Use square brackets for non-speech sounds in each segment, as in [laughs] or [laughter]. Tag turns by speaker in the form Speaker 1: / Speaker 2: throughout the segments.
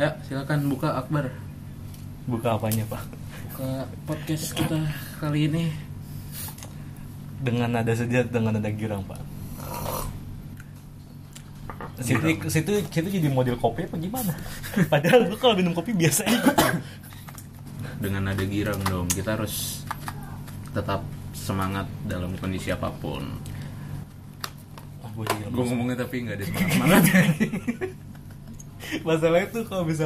Speaker 1: Ya, silakan buka Akbar.
Speaker 2: Buka apanya pak?
Speaker 1: Buka podcast kita kali ini.
Speaker 2: Dengan nada sedih dengan nada girang pak. Situ, situ, situ jadi model kopi apa gimana? [laughs] Padahal gue kalau minum kopi biasa aja.
Speaker 1: Dengan nada girang dong. Kita harus tetap semangat dalam kondisi apapun.
Speaker 2: Wah, Ah, gua jadi
Speaker 1: Gue ngomongnya tapi nggak ada [laughs] semangat.
Speaker 2: Masalahnya tuh kalau bisa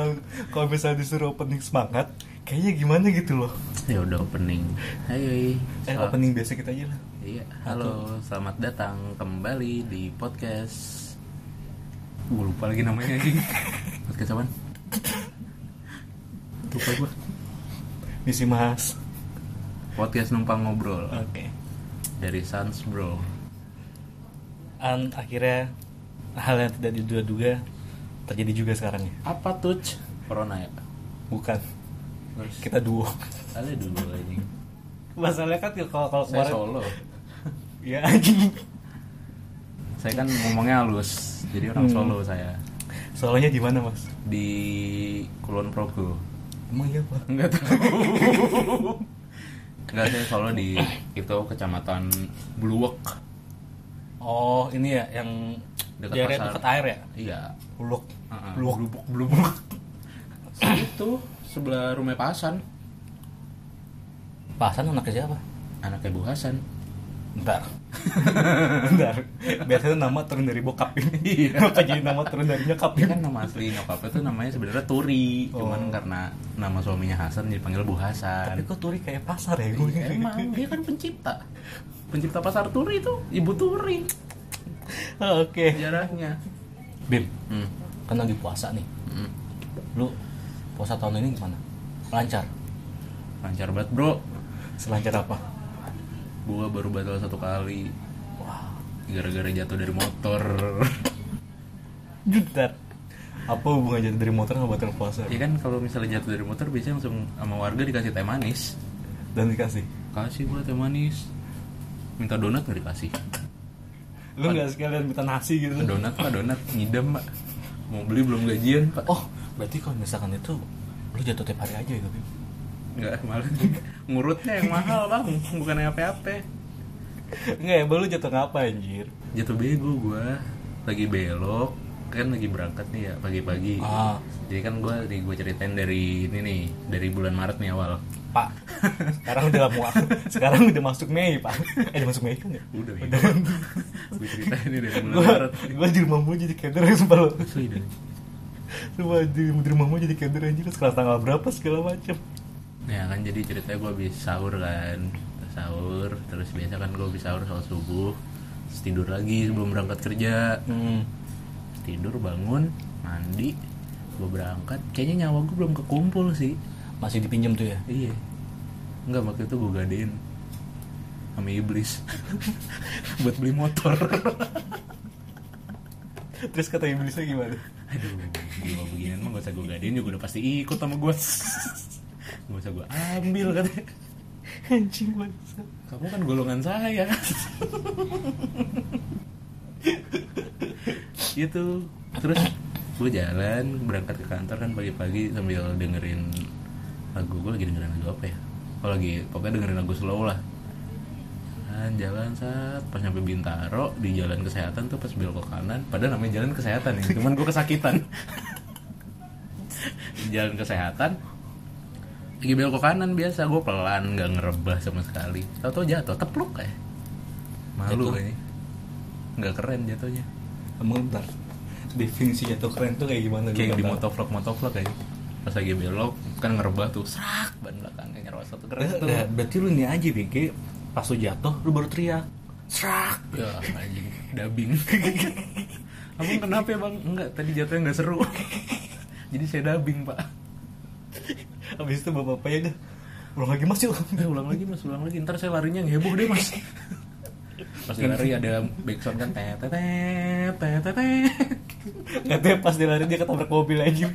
Speaker 2: kalau bisa disuruh opening semangat, kayaknya gimana gitu loh.
Speaker 1: ya udah opening. Hai.
Speaker 2: Eh,
Speaker 1: Sel-
Speaker 2: opening biasa kita aja lah.
Speaker 1: Iya, halo. Selamat datang kembali di podcast. Gue lupa lagi namanya anjing. podcast apaan? Lupa gue.
Speaker 2: Misi Mas.
Speaker 1: Podcast numpang ngobrol
Speaker 2: Oke.
Speaker 1: dari Sans Bro.
Speaker 2: An akhirnya hal yang tidak diduga-duga terjadi juga sekarang ya.
Speaker 1: Apa tuh? Corona ya.
Speaker 2: Bukan.
Speaker 1: Terus
Speaker 2: Kita duo.
Speaker 1: ada dulu anjing.
Speaker 2: Masalahnya kan kalau kalau
Speaker 1: Saya
Speaker 2: kemarin-
Speaker 1: solo.
Speaker 2: Ya anjing.
Speaker 1: Saya kan ngomongnya halus, jadi orang Solo saya
Speaker 2: Soalnya di mana, Mas?
Speaker 1: di Kulon Progo.
Speaker 2: Emang iya, Pak.
Speaker 1: Enggak tahu. Enggak saya Solo di itu kecamatan Bluwek.
Speaker 2: Oh, ini ya yang
Speaker 1: Dekat
Speaker 2: daerah
Speaker 1: pasar.
Speaker 2: dekat air ya?
Speaker 1: Iya.
Speaker 2: Buluk.
Speaker 1: Heeh.
Speaker 2: Buluk.
Speaker 1: Blubuk itu sebelah rumah Pak Hasan.
Speaker 2: Pasan anaknya siapa?
Speaker 1: Anaknya Bu Hasan.
Speaker 2: [laughs] Bentar. Bentar. Biasanya nama turun dari bokap ini.
Speaker 1: Iya.
Speaker 2: Kenapa [laughs] jadi nama turun dari nyokap
Speaker 1: Dia
Speaker 2: ini?
Speaker 1: kan nama asli nyokapnya tuh namanya sebenarnya Turi, cuman karena nama suaminya Hasan jadi panggil Bu Hasan.
Speaker 2: Tapi kok Turi kayak pasar ya gue?
Speaker 1: Iya, Emang dia kan pencipta. Pencipta pasar Turi itu Ibu Turi
Speaker 2: Oke.
Speaker 1: sejarahnya.
Speaker 2: Bim,
Speaker 1: Hmm.
Speaker 2: kan lagi puasa nih.
Speaker 1: Hmm.
Speaker 2: Lu puasa tahun ini gimana? Lancar.
Speaker 1: Lancar banget, Bro.
Speaker 2: Selancar apa?
Speaker 1: Gua baru batal satu kali
Speaker 2: Wah.
Speaker 1: gara-gara jatuh dari motor. [laughs]
Speaker 2: Bentar. Apa hubungannya dari motor sama batal puasa?
Speaker 1: ya kan kalau misalnya jatuh dari motor biasanya langsung sama warga dikasih teh manis.
Speaker 2: Dan dikasih.
Speaker 1: Kasih gua teh manis. Minta donat nggak dikasih?
Speaker 2: Lu nggak sekalian minta nasi gitu?
Speaker 1: Donat pak, donat ngidam pak. Mau beli belum gajian pak?
Speaker 2: Oh, berarti kalau misalkan itu lu jatuh tiap hari aja gitu, Bim?
Speaker 1: nggak malah [laughs] ngurutnya yang mahal bang, bukan yang apa-apa.
Speaker 2: Enggak ya, Bang, lu jatuh ngapa anjir?
Speaker 1: jatuh bego gua lagi belok kan lagi berangkat nih ya pagi-pagi
Speaker 2: Ah.
Speaker 1: jadi kan gua nih gua ceritain dari ini nih dari bulan Maret nih awal
Speaker 2: Pak, sekarang udah mau sekarang udah masuk Mei, Pak. Eh, udah masuk Mei kan ya?
Speaker 1: udah ya
Speaker 2: Udah.
Speaker 1: [laughs] gua ceritain nih dari bulan
Speaker 2: Gua,
Speaker 1: Maret
Speaker 2: gua di rumah mulu jadi keder [laughs] ya sumpah lu.
Speaker 1: asli deh
Speaker 2: Sumpah di, di rumah mulu jadi keder anjir sekarang tanggal berapa segala macem
Speaker 1: ya kan jadi ceritanya gua habis sahur kan sahur terus biasa kan gua habis sahur soal subuh terus tidur lagi sebelum berangkat kerja
Speaker 2: Hmm.
Speaker 1: tidur bangun mandi gua berangkat kayaknya nyawa gua belum kekumpul sih
Speaker 2: Masih dipinjam tuh ya.
Speaker 1: Iya. Enggak waktu itu gue gadein sama iblis [laughs] buat beli motor. [laughs]
Speaker 2: Terus kata iblisnya gimana?
Speaker 1: Aduh, jiwa beginian mah gak usah gue gadein juga udah pasti ikut sama gue. [laughs] gak usah gue ambil katanya.
Speaker 2: Anjing bangsa.
Speaker 1: Kamu kan golongan saya. [laughs] itu Gitu. terus gue jalan berangkat ke kantor kan pagi-pagi sambil dengerin lagu gue lagi dengerin lagu apa ya? Oh lagi pokoknya dengerin lagu slow lah. Jalan, jalan saat pas nyampe Bintaro di jalan kesehatan tuh pas belok ke kanan, padahal namanya jalan kesehatan ya, cuman gue kesakitan. [laughs] di jalan kesehatan lagi belok ke kanan biasa gue pelan nggak ngerebah sama sekali tahu-tahu jatuh tepluk kayak malu
Speaker 2: Jatuh.
Speaker 1: kayaknya nggak keren jatuhnya
Speaker 2: Emang bentar. Definisi jatuh keren tuh kayak gimana?
Speaker 1: kayak di
Speaker 2: Bentar.
Speaker 1: motovlog motovlog kayak pas lagi belok kan ngerebah tuh serak ban belakangnya nyerosot tuh keren
Speaker 2: Eh,
Speaker 1: tuh
Speaker 2: eh, berarti lu ini aja BG pas lu jatuh lu baru teriak serak
Speaker 1: ya anjing dabing [laughs] abang kenapa ya bang enggak tadi jatuhnya nggak seru [laughs] jadi saya dabing pak
Speaker 2: habis itu bapak bapaknya udah ulang lagi mas yuk [laughs]
Speaker 1: eh, ulang lagi mas ulang lagi ntar saya larinya ngeheboh deh mas pas dia lari ada backsound kan tet tet tet tet, [laughs] tet
Speaker 2: katanya pas dia lari dia ketabrak mobil aja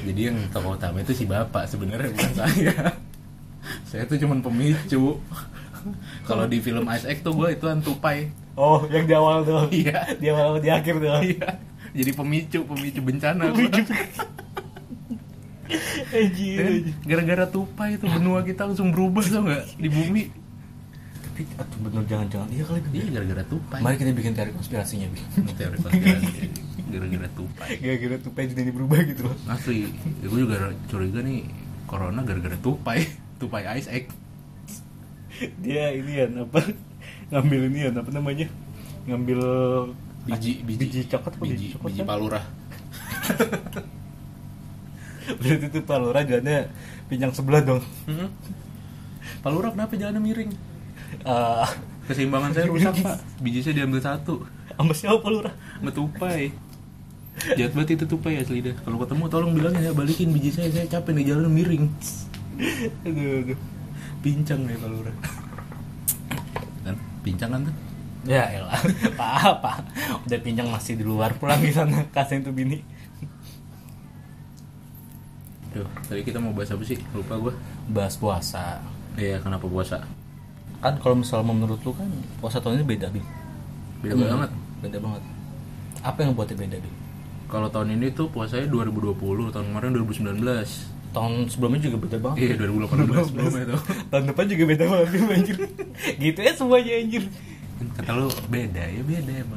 Speaker 1: Jadi yang tokoh utama itu si bapak sebenarnya bukan [laughs] saya. saya tuh cuman pemicu. [laughs] Kalau di film Ice Egg tuh gue itu tupai.
Speaker 2: oh yang di awal tuh
Speaker 1: Iya.
Speaker 2: di awal sama di akhir tuh
Speaker 1: Iya. jadi pemicu pemicu bencana [laughs] Iya,
Speaker 2: Pemicu.
Speaker 1: Ya kan?
Speaker 2: Iya, Anjir.
Speaker 1: gara-gara tupai itu benua kita langsung berubah tau nggak di bumi
Speaker 2: Tapi aduh, bener jangan-jangan iya kali Bi.
Speaker 1: iya gara-gara tupai
Speaker 2: Mari kita bikin teori konspirasinya, [laughs] Bi.
Speaker 1: Ini teori konspirasi gara-gara tupai
Speaker 2: Gara-gara tupai jadi berubah gitu loh.
Speaker 1: asli ya, gue juga curiga nih corona gara-gara tupai [laughs] tupai ice egg
Speaker 2: Dia ini ya apa ngambil ini ya apa namanya? Ngambil
Speaker 1: biji biji
Speaker 2: biji coklat apa biji
Speaker 1: biji,
Speaker 2: coklat
Speaker 1: biji
Speaker 2: kan?
Speaker 1: palurah
Speaker 2: Berarti itu palura jalannya pinjang sebelah dong.
Speaker 1: Hmm. palurah kenapa jalannya miring
Speaker 2: Eh,
Speaker 1: keseimbangan saya [laughs] rusak pak biji saya diambil satu
Speaker 2: sama siapa palura?
Speaker 1: sama tupai jahat banget itu tupai asli dah kalau ketemu tolong bilangin ya balikin biji saya saya capek nih jalannya miring
Speaker 2: Aduh, aduh.
Speaker 1: pincang deh palurah kan pincang kan tuh
Speaker 2: Ya elah, apa apa. Udah pinjang masih di luar pulang di sana kasihin tuh bini.
Speaker 1: Duh, tadi kita mau bahas apa sih? Lupa gue.
Speaker 2: Bahas puasa.
Speaker 1: Iya, kenapa puasa?
Speaker 2: Kan kalau misalnya menurut lu kan puasa tahun ini beda, Bi.
Speaker 1: Beda
Speaker 2: Hmm,
Speaker 1: banget.
Speaker 2: Beda banget. Apa yang buatnya beda, Bi?
Speaker 1: Kalau tahun ini tuh puasanya 2020, tahun kemarin 2019.
Speaker 2: Tahun sebelumnya juga beda banget.
Speaker 1: Iya, [laughs] 2018 belum itu.
Speaker 2: Tahun depan juga beda banget, Bi, anjir. gitu ya semuanya anjir.
Speaker 1: Kan Kata lu beda, ya beda emang.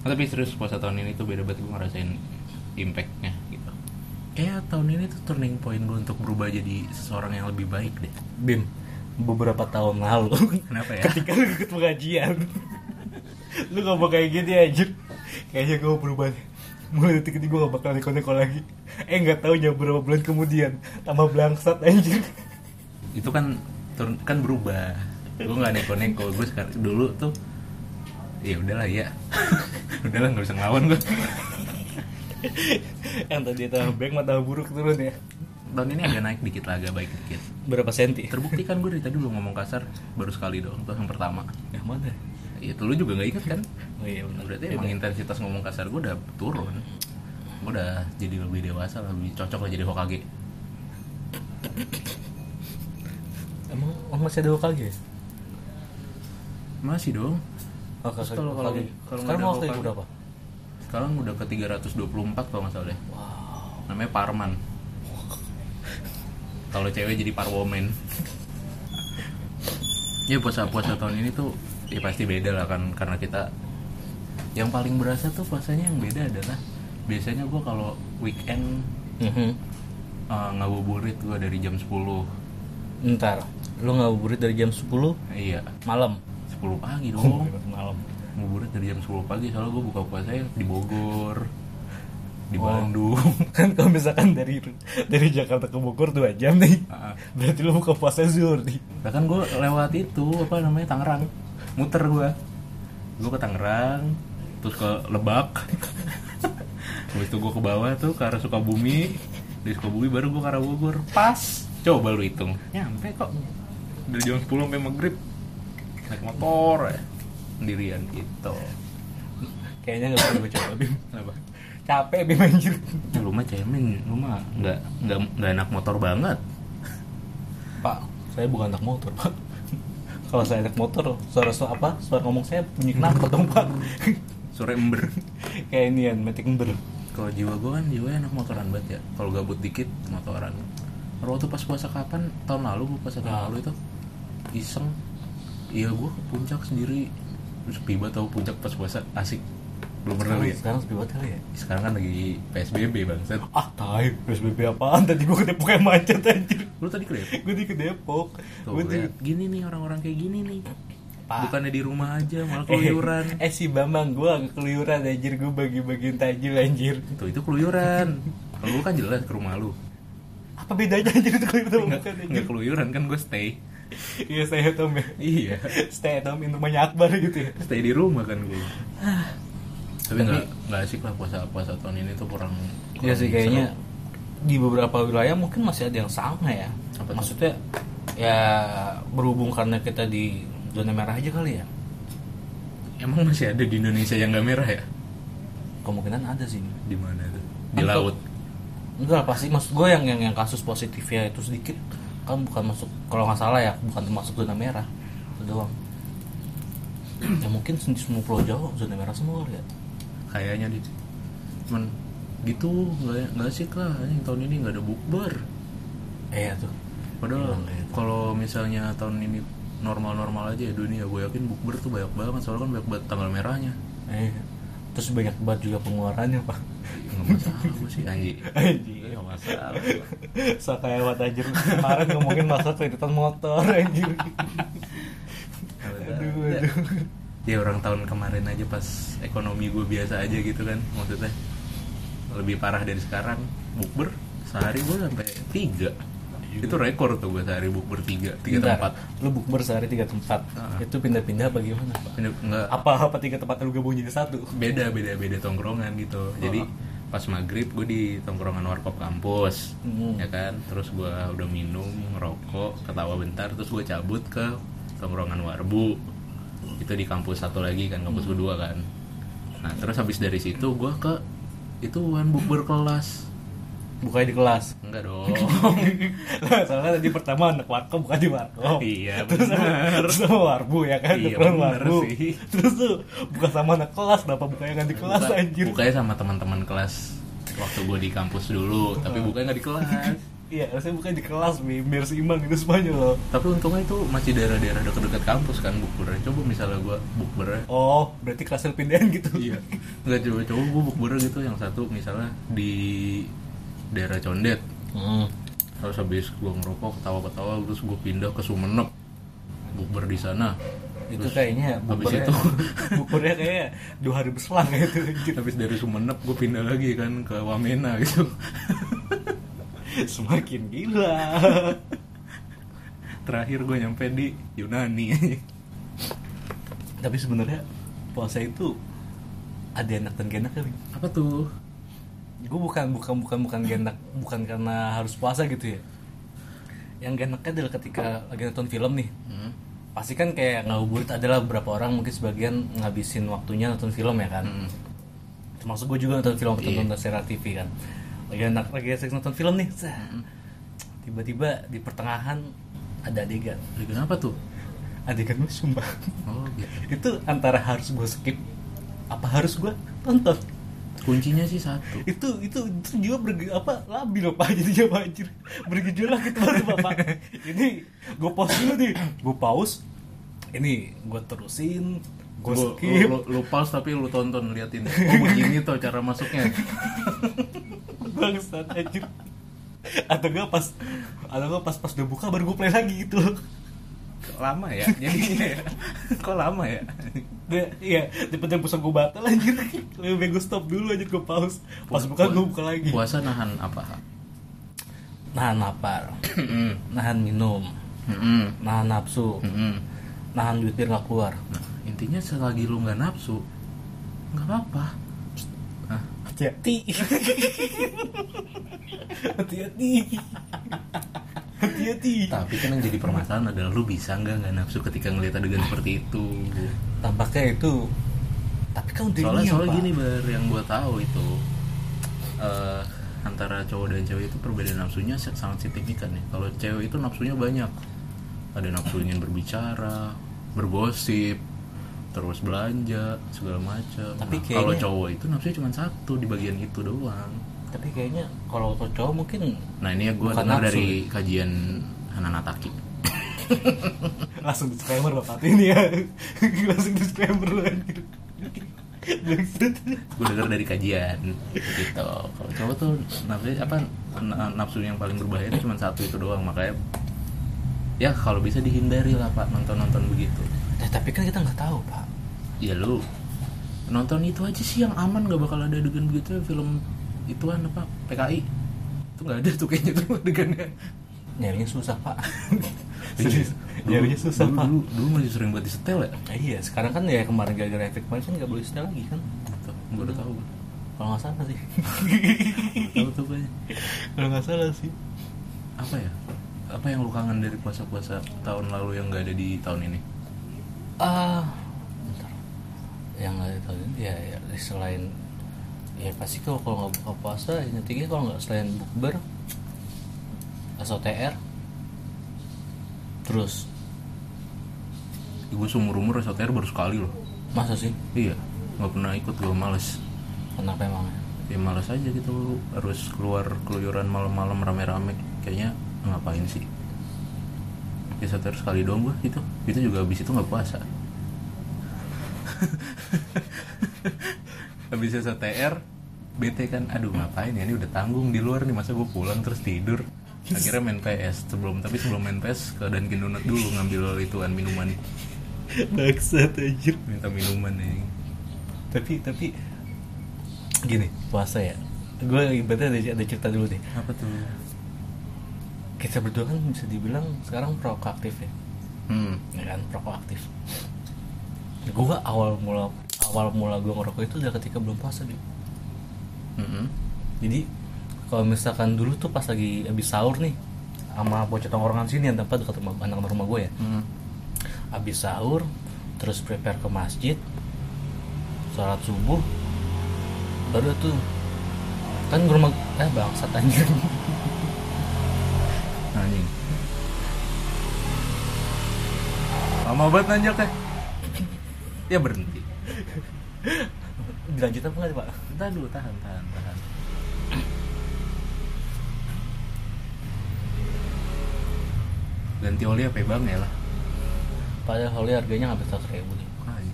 Speaker 1: Nah, tapi serius puasa tahun ini tuh beda banget gue ngerasain impactnya gitu. Kayak tahun ini tuh turning point gue untuk berubah jadi seseorang yang lebih baik deh.
Speaker 2: Bim, beberapa tahun lalu
Speaker 1: Kenapa ya?
Speaker 2: ketika lu ikut pengajian [laughs] lu ngomong kayak gini anjir kayaknya gue berubah deh. mulai detik ini gue gak bakal neko-neko lagi eh nggak tahu ya berapa bulan kemudian tambah belangsat anjir [laughs]
Speaker 1: itu kan turun kan berubah gue nggak neko-neko gue sekarang dulu tuh ya udahlah ya [laughs] udahlah nggak usah ngelawan gue
Speaker 2: yang tadi tambah baik mata buruk turun ya
Speaker 1: tahun ini agak naik dikit lah agak baik dikit
Speaker 2: berapa senti
Speaker 1: terbukti kan gue dari tadi belum ngomong kasar baru sekali doang tuh yang pertama
Speaker 2: yang mana
Speaker 1: ya tuh lu juga nggak inget kan
Speaker 2: oh iya benar
Speaker 1: berarti emang intensitas ngomong kasar gue udah turun gue udah jadi lebih dewasa lebih cocok lah jadi Hokage
Speaker 2: emang emang masih ada Hokage ya?
Speaker 1: masih dong Terus
Speaker 2: Hokage
Speaker 1: kalau- kalau-
Speaker 2: Hokage.
Speaker 1: kalau
Speaker 2: Oh, sekarang
Speaker 1: nggak ada ya?
Speaker 2: waktu itu
Speaker 1: Hokage.
Speaker 2: berapa
Speaker 1: sekarang udah ke 324 kalau nggak salah deh
Speaker 2: wow
Speaker 1: namanya Parman kalau cewek jadi Parwoman ya puasa puasa tahun ini tuh ya pasti beda lah kan karena kita yang paling berasa tuh puasanya yang beda adalah biasanya gue kalau weekend eh,
Speaker 2: Mhm.
Speaker 1: ngabuburit gue dari jam 10
Speaker 2: ntar lu ngabuburit dari jam 10
Speaker 1: iya
Speaker 2: malam
Speaker 1: 10 pagi
Speaker 2: Oh
Speaker 1: dong
Speaker 2: malam
Speaker 1: ngabuburit dari jam 10 pagi soalnya gue buka puasanya di Bogor di
Speaker 2: Oh.
Speaker 1: Bandung
Speaker 2: [laughs] kan kalau misalkan dari dari Jakarta ke Bogor dua jam nih
Speaker 1: Ah.
Speaker 2: berarti lu buka puasa zuhur nih
Speaker 1: bahkan gue lewat itu apa namanya Tangerang muter gue gue ke Tangerang terus ke Lebak habis itu gue ke bawah tuh ke arah Sukabumi dari Sukabumi baru gue ke arah Bogor pas coba lu hitung nyampe kok dari jam 10 sampai maghrib naik motor ya. sendirian gitu
Speaker 2: kayaknya nggak perlu coba bim
Speaker 1: kenapa
Speaker 2: capek bim anjir
Speaker 1: ya, lu mah cemen lu mah nggak nggak nggak enak motor banget
Speaker 2: pak saya bukan anak motor pak kalau saya anak motor suara suara apa suara ngomong saya bunyi kenapa dong pak [laughs]
Speaker 1: sore ember
Speaker 2: kayak ini ya metik ember
Speaker 1: Kalau jiwa gue kan jiwa enak motoran banget ya. Kalau gabut dikit motoran. Kalau waktu pas puasa kapan? Tahun lalu gue puasa tahun
Speaker 2: Nah.
Speaker 1: lalu itu iseng. Iya gue ke puncak sendiri. Terus tiba tahu puncak pas puasa asik. Belum pernah lu ya.
Speaker 2: sekarang sepi banget kali ya
Speaker 1: Sekarang kan lagi PSBB bangsat.
Speaker 2: ah tai PSBB apaan tadi gua ke Depok kayak macet anjir
Speaker 1: Lu tadi kerep.
Speaker 2: gua di ke Depok
Speaker 1: Tuh
Speaker 2: gua di
Speaker 1: lihat gini nih orang-orang kayak gini nih.
Speaker 2: Pak.
Speaker 1: Bukannya di rumah aja malah keluyuran.
Speaker 2: [laughs] eh, eh, si Bambang gua keluyuran anjir gua bagi-bagiin tajil anjir
Speaker 1: Tuh itu keluyuran. Kalau lu kan jelas ke rumah lu.
Speaker 2: apa bedanya anjir itu keluyuran
Speaker 1: Nggak,
Speaker 2: sama bukan anjir
Speaker 1: nggak keluyuran kan gue stay.
Speaker 2: iya stay at home ya [laughs]
Speaker 1: Iya.
Speaker 2: stay at home in rumahnya Akbar gitu ya
Speaker 1: stay di rumah kan gue tapi nggak nggak asik lah puasa puasa tahun ini tuh kurang
Speaker 2: Iya
Speaker 1: kurang
Speaker 2: sih kayaknya di beberapa wilayah mungkin masih ada yang sama ya
Speaker 1: Apa tuh?
Speaker 2: maksudnya ya berhubung karena kita di zona merah aja kali ya
Speaker 1: seru. emang masih ada di Indonesia yang nggak merah ya
Speaker 2: kemungkinan ada sih
Speaker 1: di mana tuh di
Speaker 2: Kan tuh-
Speaker 1: laut
Speaker 2: enggak pasti maksud gue yang, yang yang kasus positifnya itu sedikit kan bukan masuk kalau nggak salah ya bukan termasuk zona merah itu doang ya mungkin di semua pulau Jawa zona merah semua kali ya
Speaker 1: kayaknya di statement gitu nggak nggak asik lah anjing tahun ini nggak ada bukber
Speaker 2: Eh tuh.
Speaker 1: padahal
Speaker 2: Emang gitu.
Speaker 1: kalau misalnya tahun ini normal-normal aja ya dunia gue yakin bukber tuh banyak banget soalnya kan banyak banget tanggal merahnya
Speaker 2: Eh. Terus banyak banget juga pengeluarannya pak. [laughs]
Speaker 1: nggak masalah gue sih anjing
Speaker 2: Anjing.
Speaker 1: nggak masalah
Speaker 2: Sakayawat anjir kemarin ngomongin masalah kreditan motor anjir. aduh aduh.
Speaker 1: ya orang tahun kemarin aja pas ekonomi gue biasa aja gitu kan maksudnya lebih parah dari sekarang bukber sehari gue sampai tiga itu rekor tuh gue sehari bukber tiga tiga
Speaker 2: Bentar,
Speaker 1: tempat
Speaker 2: Lu bukber sehari tiga tempat.
Speaker 1: Ah.
Speaker 2: Itu pindah-pindah apa gimana pak?
Speaker 1: enggak
Speaker 2: Apa apa tiga tempat lu gabung jadi satu?
Speaker 1: beda beda beda tongkrongan gitu
Speaker 2: Oh.
Speaker 1: jadi pas maghrib gue di tongkrongan warkop kampus
Speaker 2: Hmm.
Speaker 1: ya kan terus gue udah minum ngerokok ketawa bentar terus gue cabut ke tongkrongan warbu itu di kampus satu lagi kan
Speaker 2: Hmm.
Speaker 1: kampus kedua kan nah terus habis dari situ gue ke itu one bukber kelas
Speaker 2: Hmm, Bukannya di kelas.
Speaker 1: enggak
Speaker 2: [laughs]
Speaker 1: dong
Speaker 2: Lah, Soalnya tadi pertama anak warkop bukan di warkop.
Speaker 1: Iya,
Speaker 2: [laughs] Terus sama-
Speaker 1: bener.
Speaker 2: Terus sama warbu ya kan?
Speaker 1: Iya,
Speaker 2: Tongkrongan
Speaker 1: bener
Speaker 2: warbu.
Speaker 1: sih.
Speaker 2: Terus tuh bukan sama anak kelas, kenapa bukannya nggak di kelas
Speaker 1: Buka-
Speaker 2: anjir?
Speaker 1: bukanya sama teman-teman kelas waktu gue di kampus dulu
Speaker 2: Hmm.
Speaker 1: tapi bukanya nggak di kelas
Speaker 2: Iya, harusnya bukan di kelas, Bi. biar seimbang itu semuanya loh.
Speaker 1: tapi untungnya itu masih daerah-daerah dekat-dekat kampus kan bukbernya coba misalnya gue bukbernya
Speaker 2: Oh, berarti kelas pindahan gitu.
Speaker 1: Iya. nggak coba coba gue bukber gitu yang satu misalnya di daerah Condet
Speaker 2: Hmm.
Speaker 1: terus habis gue ngerokok ketawa-ketawa terus gue pindah ke Sumeneb bukber di sana
Speaker 2: Itu
Speaker 1: Terus
Speaker 2: kayaknya
Speaker 1: habis
Speaker 2: bukurnya, [laughs]
Speaker 1: itu
Speaker 2: bukurnya kayaknya dua hari berselang kayak itu anjir.
Speaker 1: [laughs] habis dari Sumeneb gue pindah lagi kan ke Wamena gitu [laughs]
Speaker 2: Semakin gila.
Speaker 1: terakhir gue nyampe di Yunani
Speaker 2: Tapi sebenarnya puasa itu ada enak dan gak enak ya, Bi.
Speaker 1: apa tuh
Speaker 2: gue bukan bukan bukan bukan genak bukan karena harus puasa gitu ya yang genaknya adalah ketika lagi nonton film nih
Speaker 1: Hmm.
Speaker 2: pasti kan kayak ngabuburit adalah beberapa orang mungkin sebagian ngabisin waktunya nonton film ya kan
Speaker 1: Hmm.
Speaker 2: termasuk gue juga nonton film nonton nonton serial TV kan lagi enak lagi asik nonton film nih Zah. tiba-tiba di pertengahan ada adegan
Speaker 1: Lagi kenapa tuh
Speaker 2: adegan gue sumpah [laughs]
Speaker 1: oh gitu
Speaker 2: itu antara harus gue skip apa harus gue tonton
Speaker 1: kuncinya sih satu
Speaker 2: itu itu itu juga berge, apa labil loh pak [laughs] jadi jawab anjir bergejolak gitu banget bapak ini gue pause dulu nih gue pause ini gue terusin gue
Speaker 1: Gua-
Speaker 2: skip
Speaker 1: Lu, lu, lu pause tapi lu tonton liatin. Oh begini tuh cara masuknya.
Speaker 2: [laughs] bangsat anjir atau gue pas atau gue pas pas udah buka baru gue play lagi gitu loh
Speaker 1: Lama ya. Jadi kok lama ya?
Speaker 2: Dia- iya daripada pusat gue batal anjir lebih baik gue stop dulu anjir gue pause pas buka gue buka lagi
Speaker 1: Puasa nahan apa?
Speaker 2: nahan lapar
Speaker 1: Mm-mm.
Speaker 2: nahan minum
Speaker 1: Mm-mm.
Speaker 2: nahan nafsu
Speaker 1: Mm-mm.
Speaker 2: nahan duit biar gak keluar
Speaker 1: Nah, intinya selagi lu nggak nafsu, nggak apa-apa. Hah?
Speaker 2: [laughs] Hati-hati. Hati-hati. Hati-hati.
Speaker 1: Tapi kan yang jadi permasalahan adalah lu bisa nggak nggak nafsu ketika ngelihat adegan seperti itu.
Speaker 2: Tampaknya itu tapi kan udah
Speaker 1: Soalnya
Speaker 2: niat,
Speaker 1: soalnya
Speaker 2: Pak.
Speaker 1: gini bar yang gua tahu itu eh, antara cowok dan cewek itu perbedaan nafsunya sa- sangat signifikan ya. Kalau cewek itu nafsunya banyak. Ada nafsu ingin berbicara, bergosip, terus belanja segala macam.
Speaker 2: Tapi
Speaker 1: Nah, kalau
Speaker 2: kayaknya-
Speaker 1: cowok itu nafsunya cuma satu di bagian itu doang.
Speaker 2: Tapi kayaknya kalau untuk cowok mungkin
Speaker 1: Nah ini ya gue
Speaker 2: Bukan
Speaker 1: dengar
Speaker 2: nafsu.
Speaker 1: dari kajian Hanana Taki.
Speaker 2: [laughs] langsung disclaimer Bapak ini ya. [laughs] langsung disclaimer lu, anjir. Maksud-
Speaker 1: Gue dengar dari kajian gitu. Kalau cowok tuh nafsu apa na- nafsu yang paling berbahaya itu cuma satu itu doang makanya ya kalau bisa dihindari lah pak nonton-nonton begitu.
Speaker 2: Nah, tapi kan kita nggak tahu, Pak.
Speaker 1: Ya lu nonton itu aja sih yang aman gak bakal ada adegan begitu ya, film ituan apa PKI itu nggak ada tuh kayaknya tuh adegannya.
Speaker 2: Nyarinya susah, Pak.
Speaker 1: Serius,
Speaker 2: [laughs] Serius. Nyarinya iya. susah,
Speaker 1: dulu,
Speaker 2: Pak.
Speaker 1: dulu, dulu masih sering buat disetel ya.
Speaker 2: Nah, iya, sekarang kan ya kemarin gara-gara efek kemarin kan nggak boleh setel lagi kan.
Speaker 1: Tuh, gue Gitu. udah tahu.
Speaker 2: Kalau nggak salah sih.
Speaker 1: Tahu tuh kayaknya.
Speaker 2: [laughs] Kalau nggak salah sih.
Speaker 1: apa ya apa yang lu kangen dari puasa-puasa tahun lalu yang nggak ada di tahun ini
Speaker 2: ah bentar. yang nggak tahu ya, ya selain ya pasti kalau kalau nggak buka puasa yang tinggi kalau nggak selain bukber SOTR terus
Speaker 1: gue seumur umur SOTR baru sekali loh
Speaker 2: masa sih
Speaker 1: iya nggak pernah ikut gue males
Speaker 2: kenapa emangnya
Speaker 1: ya malas aja gitu harus keluar keluyuran malam-malam rame-rame kayaknya ngapain sih ya satu ratus kali doang gua gitu itu juga habis itu nggak puasa [laughs] habis STR BT kan aduh ngapain ya ini udah tanggung di luar nih masa gue pulang terus tidur akhirnya main PS sebelum tapi sebelum main PS ke Dunkin Donut dulu ngambil ituan minuman
Speaker 2: [laughs] Bangsat anjir.
Speaker 1: minta minuman nih
Speaker 2: Tapi tapi gini, puasa ya. Gue ibaratnya ada, ada cerita dulu deh.
Speaker 1: apa tuh
Speaker 2: Kita berdua kan bisa dibilang sekarang proaktif ya.
Speaker 1: hmm
Speaker 2: Ya kan proaktif. Gue awal mula awal mula gue ngerokok itu udah ketika belum puasa gitu.
Speaker 1: Mm-mm.
Speaker 2: Jadi kalau misalkan dulu tuh pas lagi habis sahur nih sama bocah tongkrongan sini yang tempat dekat rumah anak rumah gue ya.
Speaker 1: Hmm.
Speaker 2: Habis sahur terus prepare ke masjid sholat subuh baru tuh kan ke rumah eh bangsat anjir
Speaker 1: anjing lama banget nanjaknya [laughs] ya berhenti
Speaker 2: [laughs] dilanjut apa nggak pak
Speaker 1: Tahan dulu, tahan, tahan, tahan. Ganti oli apa ya, bang ya lah.
Speaker 2: padahal holy harganya hampir seratus ribu nih
Speaker 1: Ay.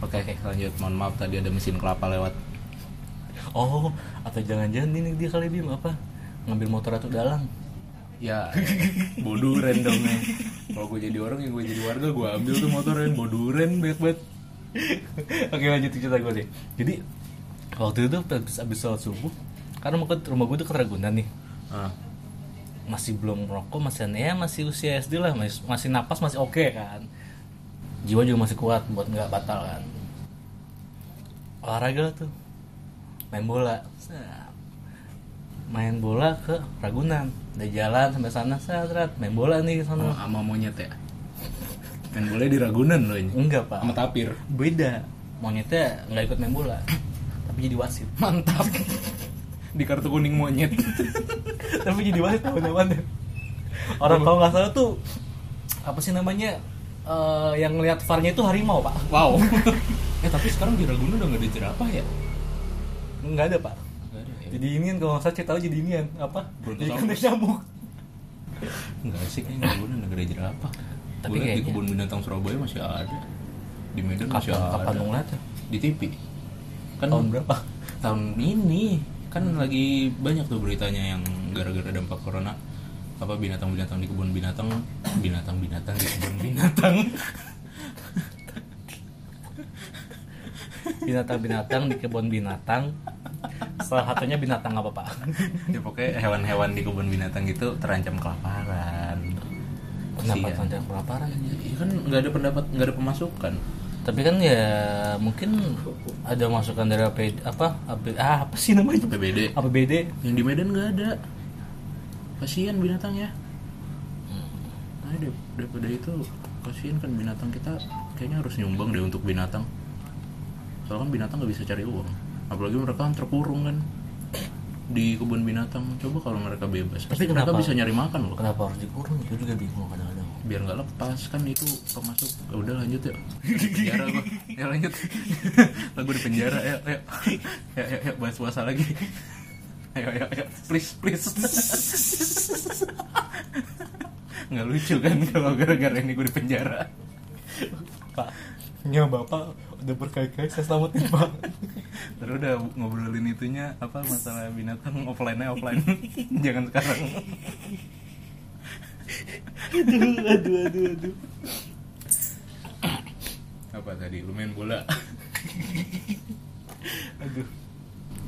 Speaker 1: Oke, oke, lanjut. Mohon maaf tadi ada mesin kelapa lewat.
Speaker 2: oh atau jangan-jangan ini dia kali bim apa ngambil motor atau dalang
Speaker 1: Ya, bodoh randomnya. Kalau gue jadi orang yang gue jadi warga, gue ambil tuh motornya boduren banyak banget.
Speaker 2: Oke lanjut cerita gue deh. Jadi waktu itu habis, habis sholat subuh, karena mau ke rumah gue tuh ke Ragunan nih,
Speaker 1: Ah,
Speaker 2: masih belum merokok, masih ya masih usia SD lah, masih, masih napas masih oke kan. Jiwa juga masih kuat buat nggak batal kan. Olahraga lah tuh, main bola. Set. Main bola ke Ragunan, udah jalan sampai sana, serat main bola nih ke
Speaker 1: sama
Speaker 2: sana.
Speaker 1: sama monyet ya. Kan boleh di Ragunan loh ini.
Speaker 2: Enggak pak,
Speaker 1: Sama tapir.
Speaker 2: beda. Monyetnya nggak ikut main bola, tapi jadi wasit.
Speaker 1: Mantap. di kartu kuning monyet.
Speaker 2: tapi jadi wasit teman-teman orang kalau nggak salah tuh apa sih namanya eh, yang ngelihat farnya itu harimau pak
Speaker 1: Wow. eh tapi sekarang di Ragunan udah nggak ada jerapah ya?
Speaker 2: nggak ada pak
Speaker 1: Nggak ada ya?
Speaker 2: jadi ini kan kalau nggak salah cerita jadi ini kan apa jadi
Speaker 1: Brontosaurus.
Speaker 2: kan nyamuk
Speaker 1: Nggak sih kayaknya Ragunan nggak ada jerapah.
Speaker 2: Tapi
Speaker 1: Tapi liat di
Speaker 2: kayaknya-
Speaker 1: kebun binatang Surabaya masih ada. Di Medan masih
Speaker 2: kapan
Speaker 1: ada.
Speaker 2: kapan lu ngeliatnya
Speaker 1: Di TV. Kan
Speaker 2: tahun berapa
Speaker 1: tahun ini kan lagi banyak tuh beritanya yang gara-gara dampak corona apa binatang-binatang di kebun binatang binatang-binatang di kebun binatang
Speaker 2: binatang-binatang di kebun binatang salah satunya binatang apa pak
Speaker 1: ya pokoknya hewan-hewan di kebun binatang itu terancam kelaparan
Speaker 2: kenapa
Speaker 1: Kasihan.
Speaker 2: tanda kelaparan
Speaker 1: Iya kan nggak ada pendapat nggak ada pemasukan
Speaker 2: tapi kan ya mungkin ada masukan dari apa apa ah, apa sih namanya
Speaker 1: PBD
Speaker 2: APBD
Speaker 1: yang di Medan nggak ada kasihan binatangnya
Speaker 2: Hmm.
Speaker 1: nah dari- daripada itu kasihan kan binatang kita kayaknya harus nyumbang deh untuk binatang soalnya kan binatang nggak bisa cari uang apalagi mereka kan terkurung kan di kebun binatang coba kalau mereka bebas
Speaker 2: Tapi
Speaker 1: pasti mereka
Speaker 2: kenapa?
Speaker 1: bisa nyari makan loh
Speaker 2: kenapa harus dikurung gue juga bingung kadang-kadang
Speaker 1: biar nggak lepas kan itu kemasuk udah lanjut ya penjara gua ya lanjut lagu di penjara ya ya ya ya, ya bahas puasa lagi ayo ayo ayo please please nggak lucu kan kalau gara-gara ini gue di penjara
Speaker 2: Pak, nya bapak udah berkali-kali saya selamatin pak.
Speaker 1: terus udah ngobrolin itunya apa masalah binatang offline nya offline [laughs] jangan sekarang
Speaker 2: aduh, aduh, aduh, aduh.
Speaker 1: apa tadi lu main bola
Speaker 2: aduh.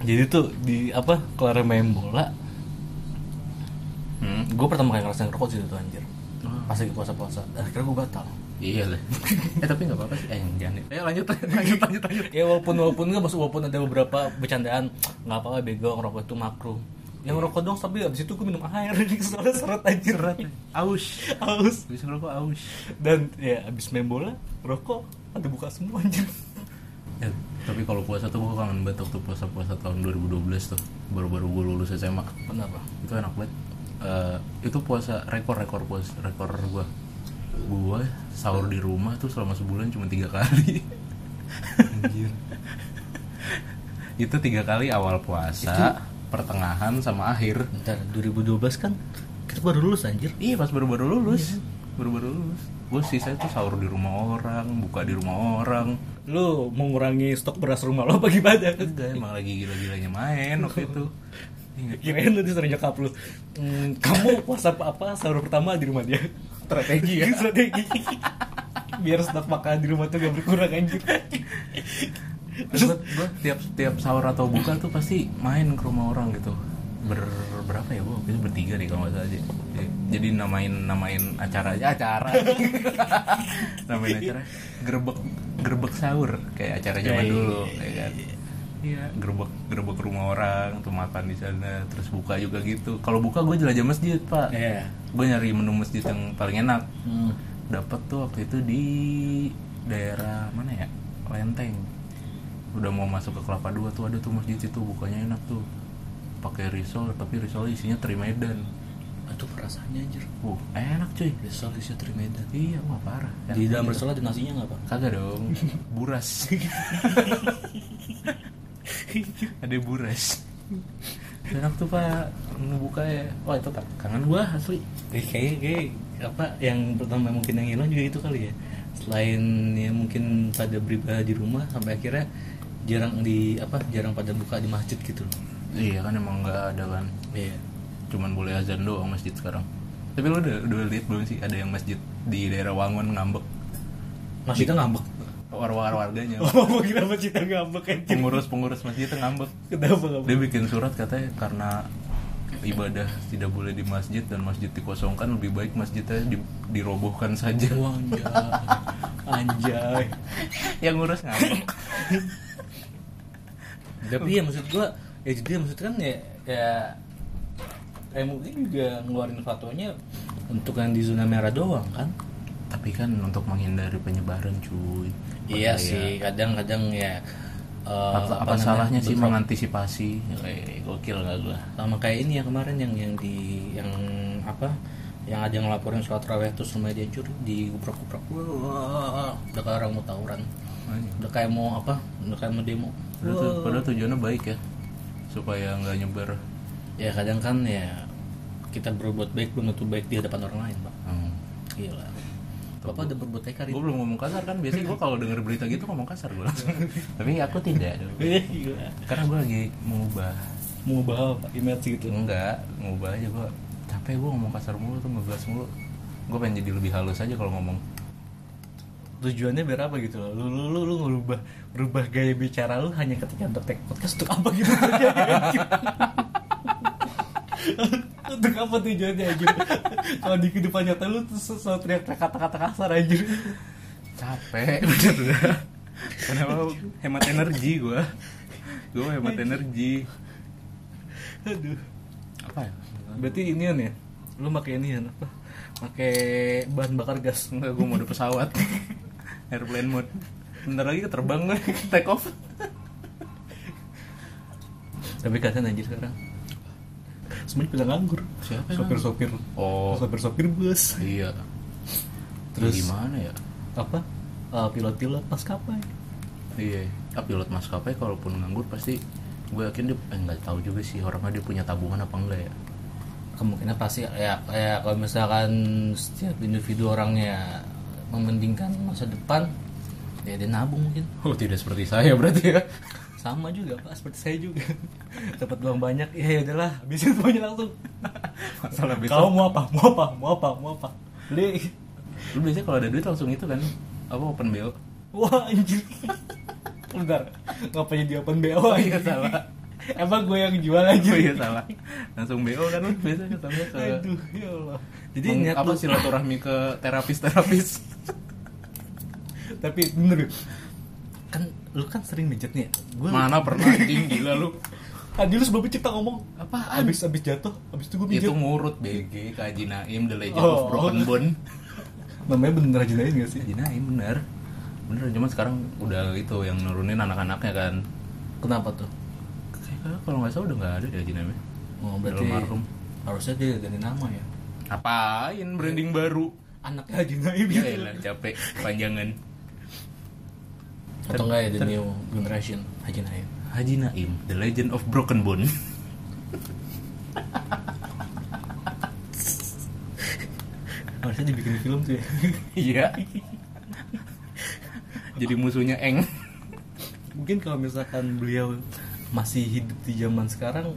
Speaker 2: Jadi tuh di apa kelar main bola,
Speaker 1: hmm?
Speaker 2: gue pertama kali ngerasain rokok sih itu anjir.
Speaker 1: Oh.
Speaker 2: Pas lagi puasa-puasa, akhirnya gue batal.
Speaker 1: iya lah eh tapi nggak apa-apa sih eh jangan ayo lanjut lanjut lanjut lanjut
Speaker 2: Ya walaupun walaupun nggak maksud walaupun ada beberapa bercandaan nggak apa-apa bego ngerokok itu makruh. Yang ngerokok dong tapi abis itu gue minum air [laughs] soalnya seret ya. anjir
Speaker 1: Berat nih. aus
Speaker 2: haus
Speaker 1: bisa ngerokok aus
Speaker 2: dan ya abis main bola rokok ada buka semua anjir.
Speaker 1: Eh, tapi kalau puasa tuh gue kangen banget waktu puasa-puasa tahun 2012 tuh baru-baru gue lulus SMA
Speaker 2: Kenapa?
Speaker 1: itu enak banget Eh, itu puasa rekor rekor puasa rekor gue gue sahur di rumah tuh selama sebulan cuma tiga kali
Speaker 2: Anjir.
Speaker 1: itu tiga kali awal puasa pertengahan sama akhir
Speaker 3: Bentar, 2012 kan kita baru lulus anjir.
Speaker 1: iya pas baru baru lulus baru baru lulus gue sisa tuh sahur di rumah orang buka di rumah orang
Speaker 2: Lu mengurangi stok beras rumah lo apa gimana?
Speaker 1: enggak emang lagi gila-gilanya main waktu itu Iya, Ingat.
Speaker 2: Kirain lu disuruh nyokap lu "Hmm, Kamu puasa apa-apa sahur pertama di rumah dia
Speaker 1: strategi
Speaker 3: [laughs]
Speaker 1: ya
Speaker 2: Strategi Biar stok makanan di rumah tuh gak berkurang anjir
Speaker 1: gue tiap tiap sahur atau buka tuh pasti main ke rumah orang gitu ber berapa ya gue itu bertiga nih kalau nggak salah aja jadi namain namain acara aja
Speaker 2: [laughs]
Speaker 1: acara namain acara gerbek gerbek sahur kayak acara zaman
Speaker 2: Iya,
Speaker 1: dulu ya kan iya gerbek gerbek rumah orang tuh makan di sana terus buka juga gitu kalau buka gue jelajah masjid pak
Speaker 3: Iya.
Speaker 1: gue nyari menu masjid yang paling enak
Speaker 3: Hmm.
Speaker 1: dapat tuh waktu itu di daerah mana ya Lenteng udah mau masuk ke Kelapa Dua tuh ada tuh masjid itu bukanya enak tuh pakai risol tapi risol isinya Trimedan
Speaker 3: Aduh perasaannya anjir.
Speaker 1: uh enak cuy
Speaker 3: Risol isi Trimeda.
Speaker 1: iya wah parah Enak
Speaker 3: Di dalam
Speaker 1: banget.
Speaker 3: risol ada nasinya nggak pak?
Speaker 1: kagak
Speaker 3: [laughs]
Speaker 1: dong buras ada buras enak tuh pak menu buka ya wah itu tak kangen gua asli
Speaker 3: Eh, Kayaknya kayak apa yang pertama mungkin yang hilang juga itu kali ya. Selain ya mungkin pada beribadah di rumah sampai akhirnya jarang di apa jarang pada buka di masjid gitu loh.
Speaker 1: iya kan emang nggak ada kan
Speaker 3: Iya.
Speaker 1: cuman boleh azan doang masjid sekarang tapi lo udah, udah lihat belum sih ada yang masjid di daerah Wangun ngambek
Speaker 3: Masjidnya ngambek.
Speaker 1: warga warganya
Speaker 2: Oh mau kira apa cita ngambek
Speaker 3: iya.
Speaker 2: anjir
Speaker 1: pengurus pengurus masjid itu ngambek
Speaker 2: Kenapa ngambek?
Speaker 1: dia bikin surat katanya karena ibadah tidak boleh di masjid dan masjid dikosongkan lebih baik masjidnya di- dirobohkan saja [laughs]
Speaker 3: Wah, anjay. anjay.
Speaker 1: yang ngurus ngambek
Speaker 3: Tapi ya maksud gua ya jadi maksud kan ya ya MUI juga ngeluarin fatwanya untuk yang di zona merah doang kan?
Speaker 1: tapi kan untuk menghindari penyebaran cuy
Speaker 3: Iya
Speaker 1: Bahaya.
Speaker 3: sih, kadang-kadang ya eh,
Speaker 1: apa, apa
Speaker 3: namanya,
Speaker 1: salahnya sih
Speaker 3: beberapa-
Speaker 1: mengantisipasi
Speaker 3: Eh, gokil nggak gua. Sama kayak ini yang kemarin yang yang di yang apa? Yang ada yang ngelaporin sholat raweh terus rumahnya dihancur di gubrak-gubrak. Wah, Udah kayak orang mau tawuran. Udah kayak mau apa? Udah kayak mau demo.
Speaker 1: padahal, tu- padahal tujuannya baik ya supaya nggak nyebar
Speaker 3: Ya kadang kan ya kita berbuat baik belum tentu baik di hadapan orang lain, Pak.
Speaker 1: Hmm.
Speaker 3: Gila. Bapak udah berbuat baik
Speaker 2: [laughs]
Speaker 3: hari
Speaker 1: Gue belum ngomong kasar kan biasanya gue kalau denger berita gitu ngomong kasar gue langsung. [laughs] Tapi aku tidak dong.
Speaker 3: Gila.
Speaker 1: Karena gue lagi mengubah.
Speaker 2: Mau bahas apa? Image gitu
Speaker 1: Enggak, ngubah aja gue. Capek gue ngomong kasar mulu tuh ngegas mulu. Gue pengen jadi lebih halus aja kalau ngomong.
Speaker 2: Tujuannya biar apa gitu loh Lu, lu, lu, lu ngerubah Berubah gaya bicara lu hanya ketika untuk take podcast Untuk apa gitu [laughs] Untuk apa tujuannya anjir Kalau di kehidupan nyata lu tuh sel- selalu teriak-teriak kata-kata kasar anjir
Speaker 1: [laughs] Capek bener dah. Kenapa hemat energi gue? Gue hemat energi.
Speaker 2: Aduh
Speaker 1: Apa ya?
Speaker 2: Berarti ini ya Lu pakai ini ya apa Pakai bahan bakar gas
Speaker 1: Enggak, gue mode pesawat. Airplane mode. Bentar lagi terbang gue, [laughs] take off.
Speaker 2: Tapi kasihan anjir sekarang Semuanya pada nganggur
Speaker 1: Siapa yang
Speaker 2: Sopir-sopir
Speaker 1: Oh.
Speaker 2: Sopir-sopir bus
Speaker 1: Iya.
Speaker 2: Terus-
Speaker 1: Terus gimana ya?
Speaker 2: apa Eh, pilot-pilot maskapai
Speaker 1: Iya, tapi pilot maskapai kalaupun nganggur pasti gue yakin dia eh, nggak tahu juga sih orangnya dia punya tabungan apa enggak ya.
Speaker 3: kemungkinan pasti ya kayak kalau misalkan setiap individu orangnya mementingkan masa depan ya dia nabung mungkin
Speaker 1: Oh tidak seperti saya berarti ya.
Speaker 3: sama juga pak seperti saya juga
Speaker 2: [laughs] dapat uang banyak ya ya udahlah habisin semuanya langsung
Speaker 1: Masalah
Speaker 2: kau
Speaker 1: besok.
Speaker 2: mau apa mau apa mau apa mau apa beli
Speaker 1: Lu biasanya kalau ada duit langsung itu kan apa open bill?
Speaker 2: wah anjir bentar ngapa jadi open bo
Speaker 1: Oh iya
Speaker 2: ya
Speaker 1: salah.
Speaker 2: emang gue yang jual
Speaker 1: Oh
Speaker 2: aja
Speaker 1: iya salah. Langsung BO kan lu biasanya sampai ke
Speaker 2: aduh ya allah jadi
Speaker 1: jadi
Speaker 2: niat
Speaker 1: apa
Speaker 2: lu-
Speaker 1: silaturahmi ke terapis-terapis.
Speaker 2: tapi bener ya. kan lu kan sering mijat nih ya gue
Speaker 1: Mana pernah anjing gila lu.
Speaker 2: tadi lu sebelum cerita ngomong
Speaker 1: Apaan?
Speaker 2: abis abis jatuh abis itu gue mijat
Speaker 1: Itu ngurut BG, Kak Haji Naim, The Legend
Speaker 2: Oh.
Speaker 1: of Broken Bone.
Speaker 2: namanya bener aja lain gak sih
Speaker 1: Haji Naim bener. Bener, cuma sekarang udah itu yang nurunin anak-anaknya kan.
Speaker 3: kenapa tuh
Speaker 1: Kayaknya kalau nggak salah udah nggak ada deh ya. Jiname.
Speaker 3: oh, berarti
Speaker 1: Almarhum.
Speaker 3: harusnya dia ganti nama ya
Speaker 1: Apain branding [laughs] baru?
Speaker 3: anaknya
Speaker 2: Haji Naim
Speaker 1: Ya
Speaker 2: gitu
Speaker 1: elah, capek panjangan.
Speaker 3: atau enggak ya the new generation Haji Naim
Speaker 1: Haji Naim The Legend of Broken Bone
Speaker 2: Harusnya dibikin film tuh ya.
Speaker 1: [laughs] [laughs] iya jadi musuhnya Eng
Speaker 2: Mungkin kalau misalkan beliau masih hidup di zaman sekarang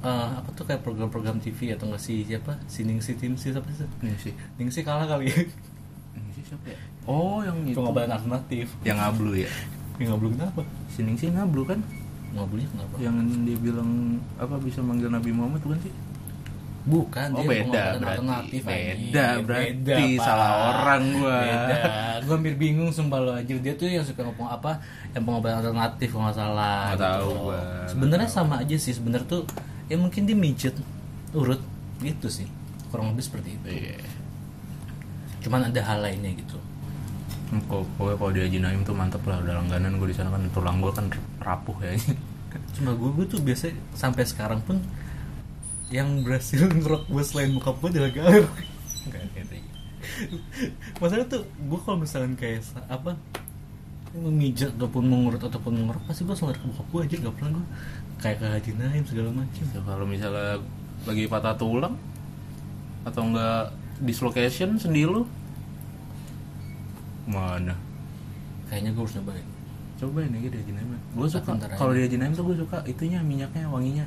Speaker 2: eh, apa tuh kayak program-program TV atau nggak si siapa? Si Ningsi Tim si siapa sih?
Speaker 1: ini sih
Speaker 2: Ningsi kalah kali ya.
Speaker 1: ini sih siapa ya oh yang itu
Speaker 2: Pengabaran alternatif.
Speaker 1: yang ngablu ya
Speaker 2: Ya nggak belum kenapa?
Speaker 1: sining sih ngablu kan
Speaker 2: Nggak boleh kenapa?
Speaker 1: yang dia bilang apa bisa manggil Nabi Muhammad bukan sih
Speaker 2: Bukan
Speaker 1: Oh, beda
Speaker 2: dia pengobatan
Speaker 1: berarti.
Speaker 2: alternatif anjing.
Speaker 1: Beda berarti. Salah orang gua.
Speaker 2: Beda. Gua hampir bingung sumpah lo anjir dia tuh yang suka ngomong apa yang pengobatan alternatif kalau nggak salah. gitu
Speaker 1: Nggak tahu gua, nggak
Speaker 2: Sebenarnya sama aja sih sebenarnya tuh ya mungkin dia mijet urut gitu sih. Kurang lebih seperti itu.
Speaker 1: iya
Speaker 2: Cuman ada hal lainnya gitu.
Speaker 1: Hmm, Kok- pokoknya kalau di Haji Naim tuh mantep lah udah langganan gue di sana kan tulang gue kan rapuh ya [laughs]
Speaker 2: Cuma gue, gue tuh biasa sampai sekarang pun yang berhasil ngerok gue selain muka gue adalah galer. [laughs] Masalahnya tuh gue kalau misalkan kayak sa- apa memijat ataupun mengurut ataupun mengorok pasti gue selalu ke bokap gue aja gak pernah gue kayak ke Haji Naim segala macam
Speaker 1: Ya, kalau misalnya lagi patah tulang atau enggak dislocation sendi lu mana
Speaker 2: kayaknya gue harus nyobain
Speaker 1: cobain aja di Haji Naim gue suka
Speaker 2: Ntar, ntar aja.
Speaker 1: kalau di Haji Naim tuh gue suka itunya minyaknya wanginya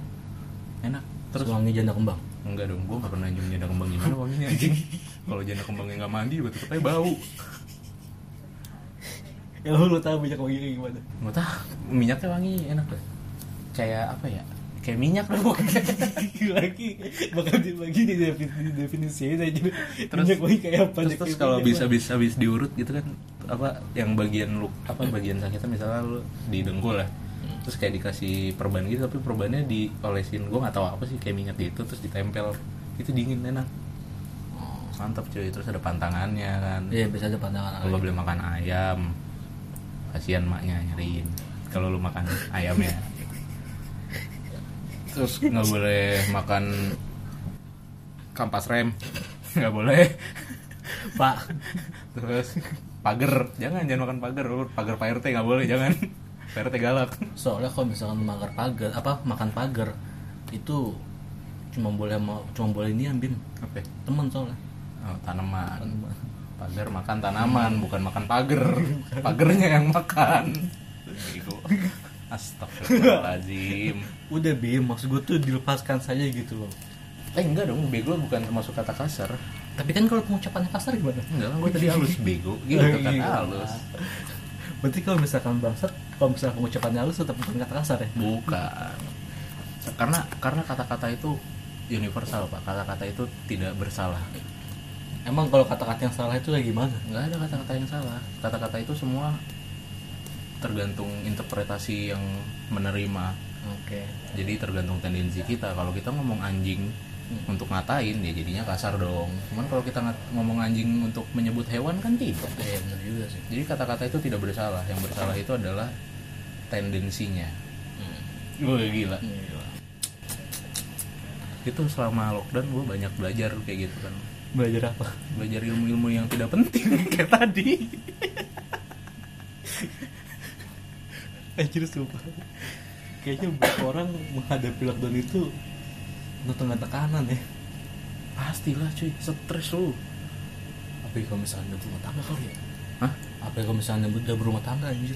Speaker 1: enak
Speaker 2: terus
Speaker 1: terus
Speaker 2: wangi janda kembang
Speaker 1: enggak dong gue gak pernah nyium janda kembang gimana wanginya anjing [laughs] kalau janda kembangnya nggak mandi gue tetep aja bau
Speaker 2: ya lu, lu tahu banyak wangi kayak gimana
Speaker 1: nggak tahu minyaknya wangi enak deh kayak apa ya kayak minyak dong [laughs]
Speaker 2: lagi bakal dibagi di defin- di definisiin aja
Speaker 1: Terus-
Speaker 2: minyak wangi Iya, kayak apa
Speaker 1: terus,
Speaker 2: deh,
Speaker 1: terus
Speaker 2: kayak
Speaker 1: kalau
Speaker 2: minyak
Speaker 1: bisa
Speaker 2: wangi.
Speaker 1: bisa habis diurut gitu kan apa yang bagian lu apa bagian sakitnya misalnya lu di dengkul lah terus kayak dikasih perban gitu tapi perbannya diolesin gue nggak tahu apa sih kayak minyak gitu terus ditempel itu dingin enak mantap cuy terus ada pantangannya kan
Speaker 2: iya bisa aja pandangan
Speaker 1: kalau boleh makan ayam kasihan maknya nyariin kalau lu makan ayamnya terus nggak boleh makan kampas rem nggak boleh
Speaker 2: pak
Speaker 1: terus pagar jangan jangan makan pagar lu pagar pak rt nggak boleh jangan pak rt galak
Speaker 2: soalnya kalau misalkan makan pagar apa makan pagar itu cuma boleh mau cuma boleh ini ambin
Speaker 1: apa ya?
Speaker 2: temen soalnya
Speaker 1: oh, tanaman pagar makan tanaman bukan makan pagar pagernya yang makan Bego. Astagfirullahaladzim
Speaker 2: udah bim maksud gue tuh dilepaskan saja gitu loh
Speaker 1: Eh enggak dong, bego bukan termasuk kata kasar
Speaker 2: tapi kan kalau pengucapannya kasar gimana
Speaker 1: Enggak kan, gue tadi halus bego Gitu
Speaker 2: Oh,
Speaker 1: kan,
Speaker 2: iya.
Speaker 1: halus
Speaker 2: berarti kalau misalkan bangsat kalau misalkan pengucapannya halus tetap bukan kata kasar ya
Speaker 1: Bukan Karena karena kata-kata itu universal pak Kata-kata itu tidak bersalah
Speaker 2: emang kalau kata-kata yang salah itu kayak gimana
Speaker 1: Enggak ada kata-kata yang salah Kata-kata itu semua tergantung interpretasi yang menerima
Speaker 2: oke
Speaker 1: Jadi tergantung tendensi kita Kalau kita ngomong anjing untuk ngatain ya jadinya kasar dong Cuman kalau kita ngat- ngomong anjing untuk menyebut hewan kan tidak
Speaker 2: iya benar juga sih
Speaker 1: Jadi kata-kata itu tidak bersalah. Yang bersalah itu adalah tendensinya.
Speaker 2: Hmm.
Speaker 1: Gue gila.
Speaker 2: Iya,
Speaker 1: Itu selama lockdown gue banyak belajar kayak gitu kan.
Speaker 2: belajar apa [laughs]
Speaker 1: Belajar ilmu-ilmu yang tidak penting [laughs] kayak tadi.
Speaker 2: Anjir sumpah Kayaknya banyak orang menghadapi lockdown itu Penuh tengah tekanan ya
Speaker 1: Pastilah cuy, stres lu.
Speaker 2: Apa ya, kalau misalnya udah berumah tangga kali ya
Speaker 1: Hah?
Speaker 2: Apa kalau misalnya udah berumah tangga anjir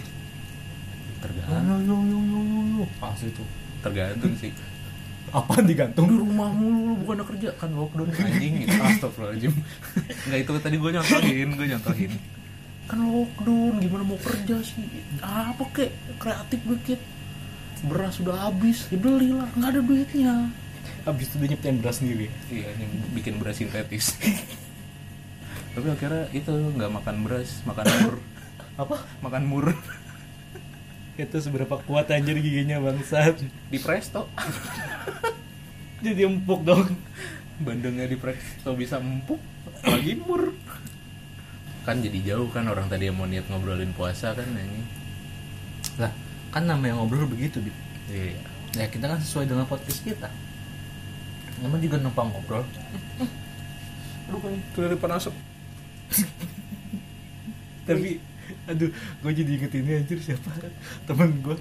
Speaker 1: Tergantung,
Speaker 2: Nah, yo yo yo yo yo Pasti tuh
Speaker 1: tergantung sih.
Speaker 2: Apaan
Speaker 1: Di
Speaker 2: digantung?
Speaker 1: rumah mulu lu bukan ada kerja kan lockdown anjing gitu. Astagfirullahaladzim. Enggak itu tadi gue nyontohin, gue nyontohin. Kan lockdown gimana mau kerja sih? Apa kek? Kreatif dikit. Beras sudah habis, ya belilah, nggak ada duitnya.
Speaker 2: Abis itu dia nyiptain beras sendiri
Speaker 1: Iya, yang bikin beras sintetis. Tapi akhirnya itu nggak makan beras, makan mur,
Speaker 2: Apa?
Speaker 1: makan mur
Speaker 2: Itu seberapa kuat anjir giginya bangsat
Speaker 1: di presto.
Speaker 2: [laughs] Jadi empuk dong
Speaker 1: Bandengnya di presto bisa empuk, lagi mur. Kan jadi jauh kan orang tadi yang mau niat ngobrolin puasa kan nyanyi.
Speaker 2: Lah kan namanya ngobrol begitu Bib
Speaker 1: Iya.
Speaker 2: Ya kita kan sesuai dengan podcast kita Namanya juga numpang ngobrol
Speaker 1: Aduh kan tuh dari panasuk.
Speaker 2: tapi aduh gue jadi inget ini anjir siapa temen gue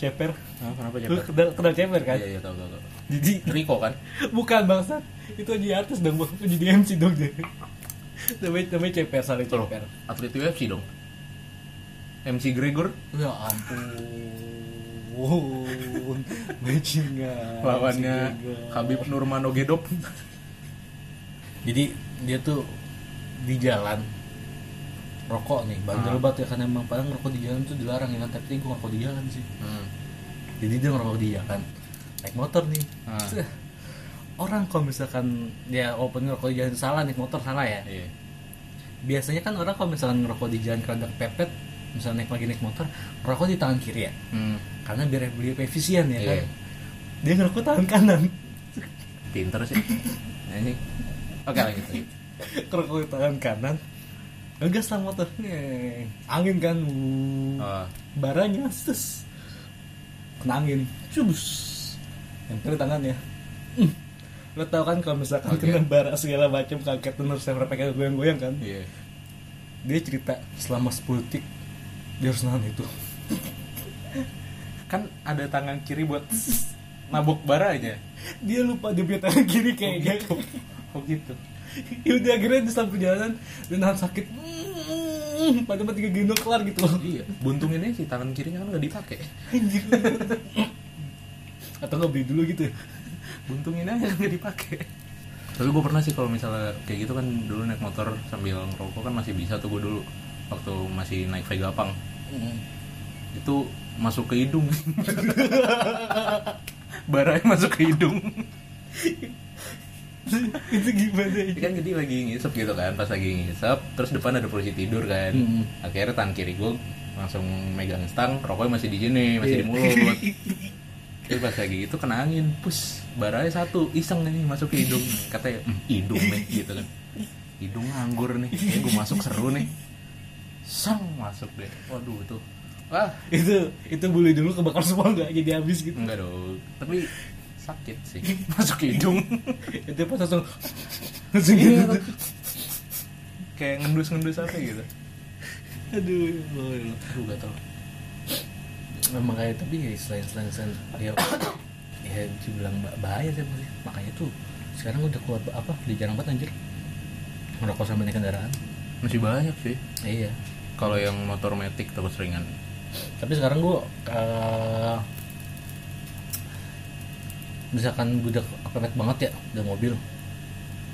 Speaker 2: ceper
Speaker 3: Hah, kenapa
Speaker 2: lu
Speaker 3: ceper?
Speaker 2: kenal, kenal ceper kan
Speaker 1: Ah, Iya iya tau tau tau.
Speaker 2: jadi
Speaker 1: Riko kan?
Speaker 2: bukan bangsat itu di atas dong bang itu jadi MC dong dia namanya namanya ceper saling
Speaker 1: Loh,
Speaker 2: ceper
Speaker 1: atlet UFC dong. MC Gregor
Speaker 2: ya ampun bajingan
Speaker 1: lawannya Habib Nurmano Gedop.
Speaker 3: Jadi dia tuh di jalan rokok nih bandel
Speaker 1: Ah.
Speaker 3: banget ya karena emang padahal rokok di jalan tuh dilarang ya kan tapi gue ngerokok di jalan sih
Speaker 1: Hmm.
Speaker 3: jadi dia ngerokok di jalan naik motor nih
Speaker 1: Ah.
Speaker 3: Set. orang kalau misalkan dia open ngerokok di jalan salah naik motor salah ya
Speaker 1: Iya.
Speaker 3: biasanya kan orang kalau misalkan ngerokok di jalan keranda pepet misalnya naik lagi naik motor rokok di tangan kiri ya
Speaker 1: Hmm.
Speaker 3: karena biar beliau efisien ya kan
Speaker 1: Iya.
Speaker 3: dia ngerokok tangan kanan
Speaker 1: Pinter
Speaker 2: [laughs]
Speaker 1: sih. Ini. Oke lanjut. lanjut.
Speaker 3: ngerokok di tangan kanan ngegas lah motor Neng. angin kan wuh.
Speaker 1: Ah.
Speaker 2: baranya sus kena angin cubus nempel di tangannya Hmm. lo tau kan kalau misalkan
Speaker 1: Oke.
Speaker 2: kena bara segala macam kaget bener saya mereka goyang-goyang kan
Speaker 1: Iya.
Speaker 2: dia cerita selama 10 detik dia harus nahan itu [laughs]
Speaker 1: Kan ada tangan kiri buat mabuk baranya.
Speaker 2: dia lupa dia punya tangan kiri kayaknya [laughs]
Speaker 1: Oh gitu.
Speaker 2: ya udah akhirnya di samping jalanan dia nahan sakit Hmm, pada mati tiga gendong kelar gitu loh
Speaker 1: Iya. Buntung ini sih tangan kirinya kan nggak dipakai.
Speaker 2: anjir atau nggak beli dulu gitu ya
Speaker 1: Buntungin aja nggak dipakai. Tapi gue pernah sih kalau misalnya kayak gitu kan dulu naik motor sambil ngerokok kan masih bisa tuh gue dulu waktu masih naik Vega Pang
Speaker 3: Hmm. [laughs]
Speaker 1: itu masuk ke hidung [laughs] baranya masuk ke hidung
Speaker 2: itu gimana ya
Speaker 1: Ini kan jadi lagi ngisep gitu kan pas lagi ngisep terus depan ada polisi tidur kan
Speaker 3: Hmm.
Speaker 1: akhirnya tangan kiri gue langsung megang stang rokoknya masih di sini masih di mulut terus pas lagi itu kena angin pus baranya satu iseng nih masuk ke hidung katanya "Hmm, hidung nih gitu kan hidung nganggur nih kayak gue masuk seru nih sang masuk deh waduh tuh wah
Speaker 2: itu itu bully dulu kebakar semua nggak jadi habis gitu
Speaker 1: Enggak dong, tapi sakit sih [laughs] masuk ke hidung
Speaker 2: itu pas langsung langsung
Speaker 1: Iya,
Speaker 2: gitu
Speaker 1: kayak ngendus-ngendus apa gitu
Speaker 2: aduh ya Allah, ya Allah.
Speaker 1: aduh gak tau
Speaker 3: memang kayak tapi ya selain selain selain dia ya dibilang bah- bahaya sih maksudnya. makanya tuh sekarang udah keluar apa di jarang banget anjir ngerokok sambil naik kendaraan
Speaker 1: masih banyak sih
Speaker 3: iya
Speaker 1: kalau yang motor metik terus ringan
Speaker 3: tapi sekarang gua eh, misalkan budak kepepet banget ya udah mobil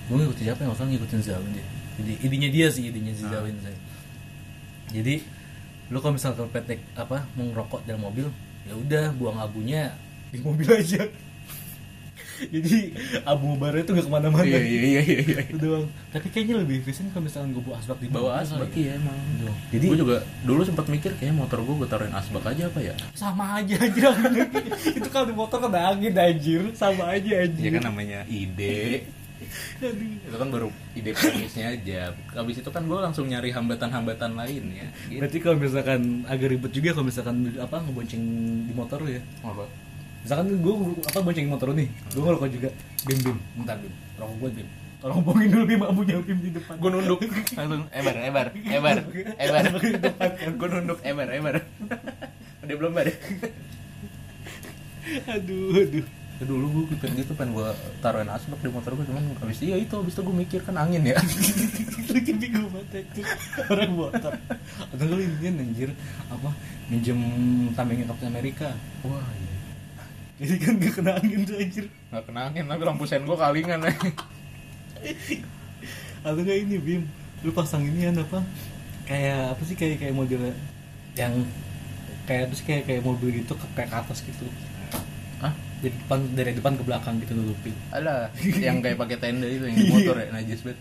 Speaker 3: gue ngikutin siapa yang maksudnya ngikutin Zawin dia jadi idenya dia sih idenya si
Speaker 1: Ah.
Speaker 3: Zawin saya jadi lu kalau misalkan kepepet naik apa mau ngerokok dalam mobil ya udah buang abunya
Speaker 2: di
Speaker 3: [laughs]
Speaker 2: mobil aja jadi abu barnya tuh nggak kemana-mana
Speaker 1: iya iya iya iya, iya
Speaker 2: itu doang tapi kayaknya lebih efisien kalau misalkan gue bawa asbak di
Speaker 1: bawa
Speaker 2: mobil
Speaker 1: asbak
Speaker 2: kali ya.
Speaker 1: iya emang
Speaker 2: Tuh.
Speaker 1: jadi gue juga dulu sempat mikir kayaknya motor gue gue taruhin asbak aja apa ya
Speaker 2: sama aja anjir anginnya. [laughs] itu kalau di motor kena angin anjir sama aja
Speaker 1: ya
Speaker 2: anjir
Speaker 1: kan namanya ide
Speaker 2: Aduh.
Speaker 1: itu kan baru ide premisnya aja habis itu kan gue langsung nyari hambatan-hambatan lain ya gitu.
Speaker 2: Iya. berarti kalau misalkan agak ribet juga kalau misalkan apa ngebonceng di motor lu ya
Speaker 1: apa
Speaker 2: misalkan gue apa boncengin motor lu nih gue ngerokok juga bim bim bentar bim rokok gue bim tolong bohongin dulu bim abunya bim di depan
Speaker 1: gue nunduk langsung Oh, ebar ebar ebar ebar gue nunduk ebar ebar udah belum bar
Speaker 2: [laughs] aduh aduh [laughs]
Speaker 1: Ya, dulu gue pengen gitu pengen gue taruhin asbak di motor gue cuman habis iya itu habis itu gue mikir kan angin ya
Speaker 2: lagi bingung banget itu orang motor atau lu ini anjir apa minjem tamengin Captain Amerika
Speaker 1: wah iya.
Speaker 2: jadi kan gak kena angin tuh anjir
Speaker 1: nggak kena angin nah, tapi lampu sen gue kalingan ya
Speaker 2: [laughs] atau gak ini bim lu pasang ini kan apa kayak apa sih kayak kayak modelnya yang kayak apa sih kayak kayak mobil gitu ke kayak ke atas gitu
Speaker 1: ah
Speaker 2: dari depan dari depan ke belakang gitu nutupin
Speaker 1: ada yang kayak pakai tenda itu yang di motor ya najis banget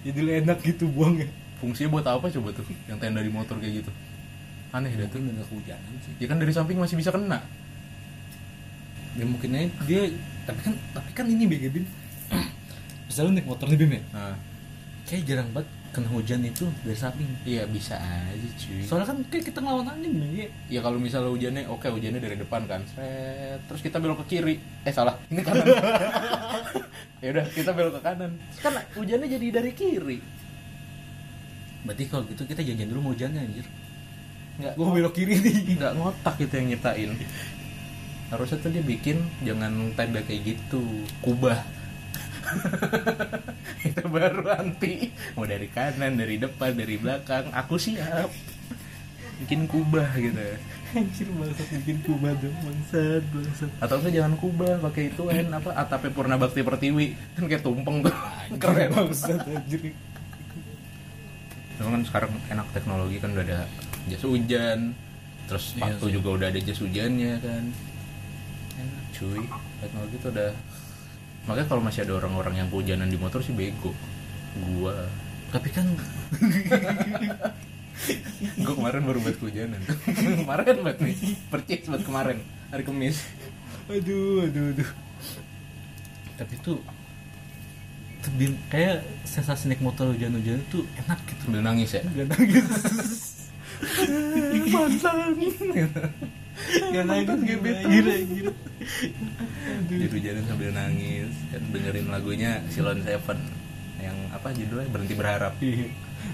Speaker 2: jadi lu enak gitu buangnya
Speaker 1: fungsinya buat apa coba tuh yang tenda di motor kayak gitu aneh dah
Speaker 3: itu
Speaker 1: tuh
Speaker 3: udah kehujanan sih
Speaker 1: ya kan dari samping masih bisa kena
Speaker 3: ya mungkin aja dia
Speaker 2: tapi kan tapi kan ini BG bim [clears throat] misalnya naik motor nih bim ya
Speaker 1: nah,
Speaker 3: kayak jarang banget kena hujan itu dari samping
Speaker 1: iya bisa aja cuy
Speaker 2: soalnya kan kayak kita ngelawan angin nih
Speaker 1: ya kalau misalnya hujannya oke hujannya dari depan kan Sret. terus kita belok ke kiri eh salah ini [laughs] kanan ya udah kita belok ke kanan kan hujannya jadi dari kiri
Speaker 3: berarti kalau gitu kita janjian dulu mau hujannya anjir
Speaker 1: nggak
Speaker 2: gua belok kiri nih
Speaker 1: nggak ngotak gitu yang nyiptain harusnya tuh dia bikin jangan tenda kayak gitu kubah [laughs] itu baru anti mau dari kanan dari depan dari belakang aku siap bikin kubah gitu
Speaker 4: Anjir bangsat bikin kuba dong bangsat bangsat.
Speaker 1: atau enggak jangan kubah pakai itu kan apa atapnya purna bakti pertiwi kan kayak tumpeng tuh keren
Speaker 4: bangsat anjir.
Speaker 1: Cuma kan sekarang enak teknologi kan udah ada jas hujan, terus sepatu juga udah ada jas hujannya kan. Enak cuy, teknologi tuh udah. Makanya kalau masih ada orang-orang yang kehujanan di motor sih bego. Gua,
Speaker 2: Tapi kan
Speaker 1: [laughs] gua kemarin baru buat kehujanan. [laughs] kemarin buat nih, percis buat kemarin hari Kamis.
Speaker 4: Aduh aduh aduh.
Speaker 2: tapi tuh tuh bin- kayak sensasi naik motor hujan-hujan itu enak gitu.
Speaker 1: Sambil nangis [laughs] ya.
Speaker 4: Gak nangis. Mantan.
Speaker 1: [laughs]
Speaker 4: Gak nangis gebetan. Anjir anjir.
Speaker 1: Di hujanan sambil nangis kan dengerin lagunya Silon Seven yang apa judulnya berhenti berharap.
Speaker 4: Iya.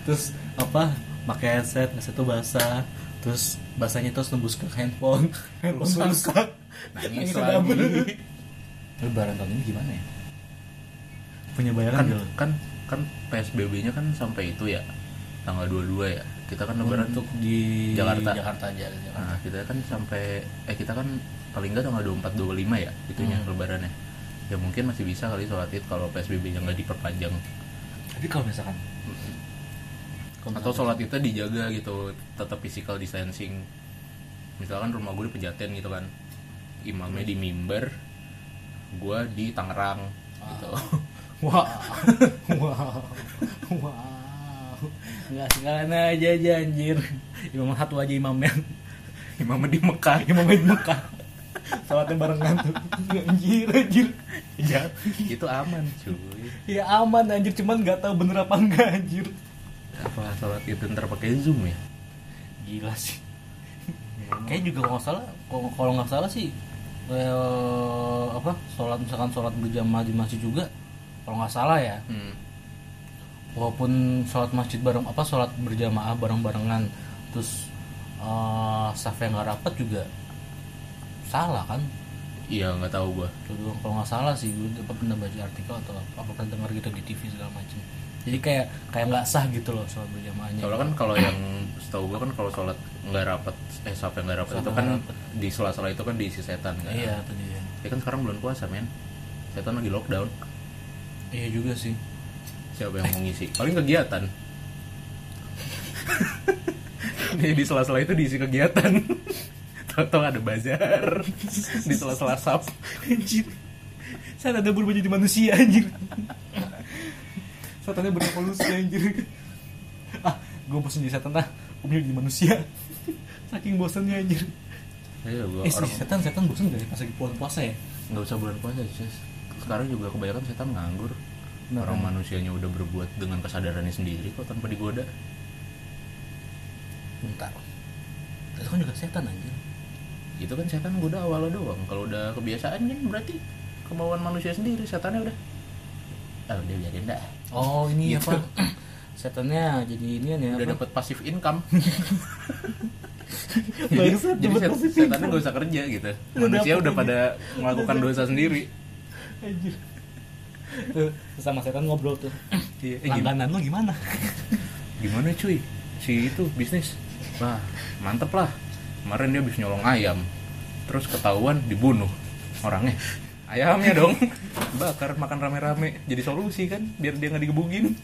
Speaker 2: terus apa pakai headset headset tuh basah terus basahnya terus nembus ke handphone handphone
Speaker 4: Rusak.
Speaker 2: rusak
Speaker 1: Nangis
Speaker 4: Nangis
Speaker 1: lagi.
Speaker 2: lebaran tahun ini gimana ya punya
Speaker 1: kan
Speaker 2: bayaran nggak lo?
Speaker 1: kan kan PSBB-nya kan sampai itu ya tanggal 22 ya. Kita kan lebaran tuh
Speaker 2: untuk di
Speaker 1: Jakarta.
Speaker 2: Jakarta aja Jakarta.
Speaker 1: nah, kita kan sampai eh kita kan paling nggak tanggal 24 25 ya itunya
Speaker 2: Hmm.
Speaker 1: lebarannya. Ya mungkin masih bisa kali sholat id kalau PSBB-nya nggak diperpanjang
Speaker 2: tapi kalau misalkan kalau
Speaker 1: atau
Speaker 2: misalkan-
Speaker 1: sholat itu dijaga gitu tetap physical distancing misalkan rumah gue di pejaten gitu kan imamnya di mimbar gue di Tangerang gitu
Speaker 2: [laughs] wow wow wow nggak sekalian aja aja anjir imam satu aja imamnya
Speaker 1: imamnya di Mekah
Speaker 2: imamnya di Mekah
Speaker 4: Salatnya barengan tuh. Anjir anjir.
Speaker 1: [laughs] ya itu aman cuy
Speaker 4: Ya aman anjir cuman nggak tahu bener apa enggak anjir.
Speaker 1: apa sholat itu ntar pakai zoom ya
Speaker 2: gila sih kayak juga kalau nggak salah kalau- kalau nggak salah sih eh, apa sholat misalkan sholat berjamaah di masjid juga kalau nggak salah ya
Speaker 1: hmm.
Speaker 2: walaupun sholat masjid bareng apa sholat berjamaah bareng barengan terus eh saf yang nggak rapat juga salah kan
Speaker 1: iya nggak tahu gue
Speaker 2: Itu doang. kalau nggak salah sih gue apa pernah baca artikel atau apa pernah dengar gitu di TV segala macam jadi kayak kayak nggak sah gitu loh sholat berjamaahnya
Speaker 1: soalnya kan kalau yang setahu gue kan kalau sholat nggak rapat eh sholat yang nggak rapat
Speaker 2: Sholat
Speaker 1: itu
Speaker 2: nggak
Speaker 1: kan
Speaker 2: rapat.
Speaker 1: di sela-sela itu kan diisi setan kan
Speaker 2: iya tadi ya
Speaker 1: ya kan sekarang bulan puasa men setan lagi lockdown
Speaker 2: iya juga sih
Speaker 1: siapa yang mau ngisi paling kegiatan Nih, di sela-sela itu diisi kegiatan Tahu-tahu ada bazar di sela-sela sap
Speaker 4: Anjir. Saat ada berubah jadi manusia anjir. Satannya berevolusi anjir. Ah, gue bosan jadi setan ah. Gue mau jadi manusia. Saking bosannya anjir.
Speaker 1: Iya, gua
Speaker 2: Eh,
Speaker 1: orang
Speaker 2: sih, setan setan bosan gak ya pas lagi bulan puasa ya?
Speaker 1: nggak usah bulan puasa Cis. sekarang juga kebanyakan setan nganggur orang manusianya udah berbuat dengan kesadarannya sendiri kok tanpa digoda
Speaker 2: Bentar. Itu kan juga setan anjir.
Speaker 1: itu kan setan goda awalnya doang kalau udah kebiasaan kan berarti kemauan manusia sendiri setannya udah ah udah biarin dah
Speaker 2: Oh, ini
Speaker 1: Gitu.
Speaker 2: apa? [clears throat] Setannya jadi ini kan ya.
Speaker 1: udah
Speaker 2: [laughs] apa?
Speaker 1: dapat pasif income jadi,
Speaker 4: Bangsat,
Speaker 1: jadi
Speaker 4: dapat
Speaker 1: set-
Speaker 4: positif.
Speaker 1: setannya nggak usah kerja gitu manusia
Speaker 4: dapet
Speaker 1: udah
Speaker 4: ini.
Speaker 1: pada melakukan dosa sendiri
Speaker 4: Anjir.
Speaker 2: Tuh, sama Eh, setan ngobrol tuh.
Speaker 1: Iya, eh, gini.
Speaker 2: Langganan lu gimana? [laughs]
Speaker 1: gimana cuy si itu bisnis wah mantep lah kemarin dia habis nyolong ayam terus ketahuan dibunuh orangnya ayamnya
Speaker 4: [laughs]
Speaker 1: dong bakar makan rame-rame jadi solusi kan biar dia nggak digebukin
Speaker 4: [laughs]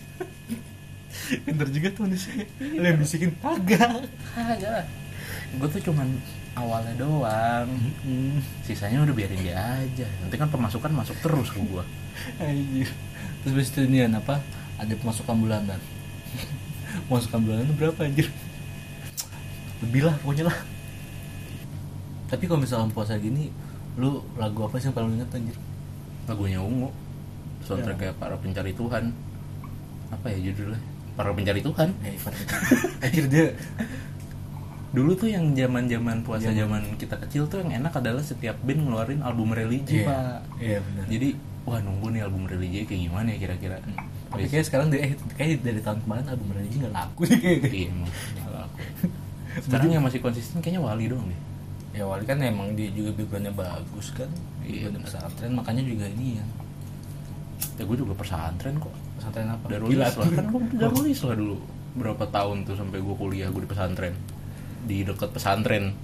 Speaker 4: Pinter juga tuh manusia. Lo yang bisikin kagak.
Speaker 1: kagak gue tuh cuman awalnya doang sisanya udah biarin dia aja nanti kan pemasukan masuk terus ke gue
Speaker 4: Anjir.
Speaker 2: Terus habis itu ini kan, apa? Ada pemasukan bulanan. [laughs] pemasukan bulanan itu berapa anjir? Lebih lah pokoknya lah. Tapi kalau misalkan puasa gini, lu lagu apa sih yang paling lu inget anjir?
Speaker 1: lagunya ungu soundtrack kayak para pencari Tuhan apa ya judulnya para pencari Tuhan
Speaker 2: Eh,
Speaker 4: [laughs] Anjir dia
Speaker 1: Dulu tuh yang zaman-zaman puasa
Speaker 2: Zaman.
Speaker 1: zaman kita kecil tuh yang enak adalah setiap band ngeluarin album religi,
Speaker 2: Iya.
Speaker 1: Pak.
Speaker 2: Iya, benar.
Speaker 1: Jadi, wah nunggu nih album religi kayak gimana ya kira-kira.
Speaker 2: Tapi kayaknya sekarang dari, eh, kayaknya dari tahun kemarin album religi nggak laku deh kayaknya.
Speaker 1: Iya, emang. Nggak laku. Sekarang yang masih konsisten kayaknya Wali doang deh.
Speaker 3: ya wali kan emang dia juga backgroundnya bagus kan
Speaker 1: Iya,
Speaker 3: backgroundnya pesantren makanya juga ini ya
Speaker 1: ya gue juga pesantren kok
Speaker 3: pesantren apa
Speaker 1: Darul Islah kan gue Darul Islah dulu berapa tahun tuh sampai gue kuliah gue di pesantren di dekat pesantren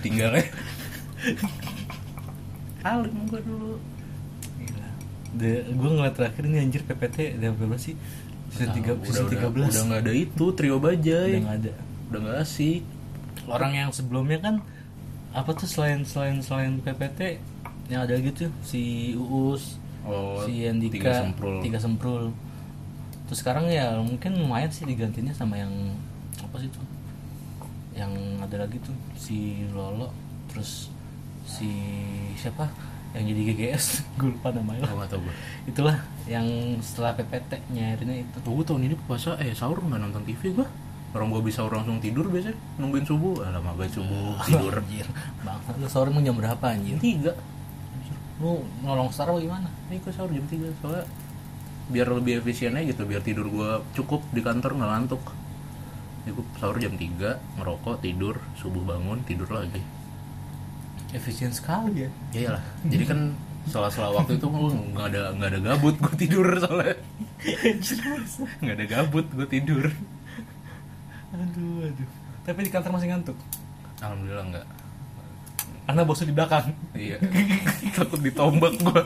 Speaker 1: tinggalnya alim gue dulu
Speaker 2: Gila. De- Gue ngeliat terakhir ini anjir PPT udah berapa sih? Season, tiga,
Speaker 1: Nah,
Speaker 2: season
Speaker 1: udah-
Speaker 2: 13
Speaker 1: udah nggak ada itu trio bajai
Speaker 2: Udah nggak ada.
Speaker 1: udah nggak asik
Speaker 2: Orang yang sebelumnya kan apa tuh selain selain selain PPT yang ada gitu si Uus,
Speaker 1: Oh,
Speaker 2: si Andika,
Speaker 1: tiga semprul.
Speaker 2: tiga semprul. Terus sekarang ya mungkin lumayan sih digantinya sama yang apa sih tuh? Yang ada lagi tuh si Lolo, terus si siapa yang jadi [laughs] GGS gue lupa namanya
Speaker 1: Gak tau gue
Speaker 2: itulah yang setelah PPT nyarinya itu
Speaker 1: Tuh gue tahun ini puasa eh sahur nggak nonton TV gue Orang gue bisa langsung tidur biasanya Nungguin subuh Alah mabat
Speaker 2: [laughs]
Speaker 1: subuh tidur
Speaker 2: anjir bang lu sore mau jam berapa anjir
Speaker 1: Jam 3
Speaker 2: lu nolong star apa gimana
Speaker 1: Ini gue sahur jam 3 Soalnya biar lebih efisiennya gitu Biar tidur gue cukup di kantor nggak ngantuk Jadi gue sahur jam 3 Ngerokok tidur Subuh bangun tidur lagi
Speaker 2: efisien sekali ya
Speaker 1: Ya iyalah [laughs] Jadi kan Setelah-setelah waktu itu gue nggak ada nggak ada gabut gue tidur soalnya nggak ada gabut gue tidur
Speaker 2: aduh aduh tapi di kantor masih ngantuk
Speaker 1: alhamdulillah nggak
Speaker 2: karena bosnya di belakang [laughs]
Speaker 1: Iya. [laughs] Takut ditombak gua.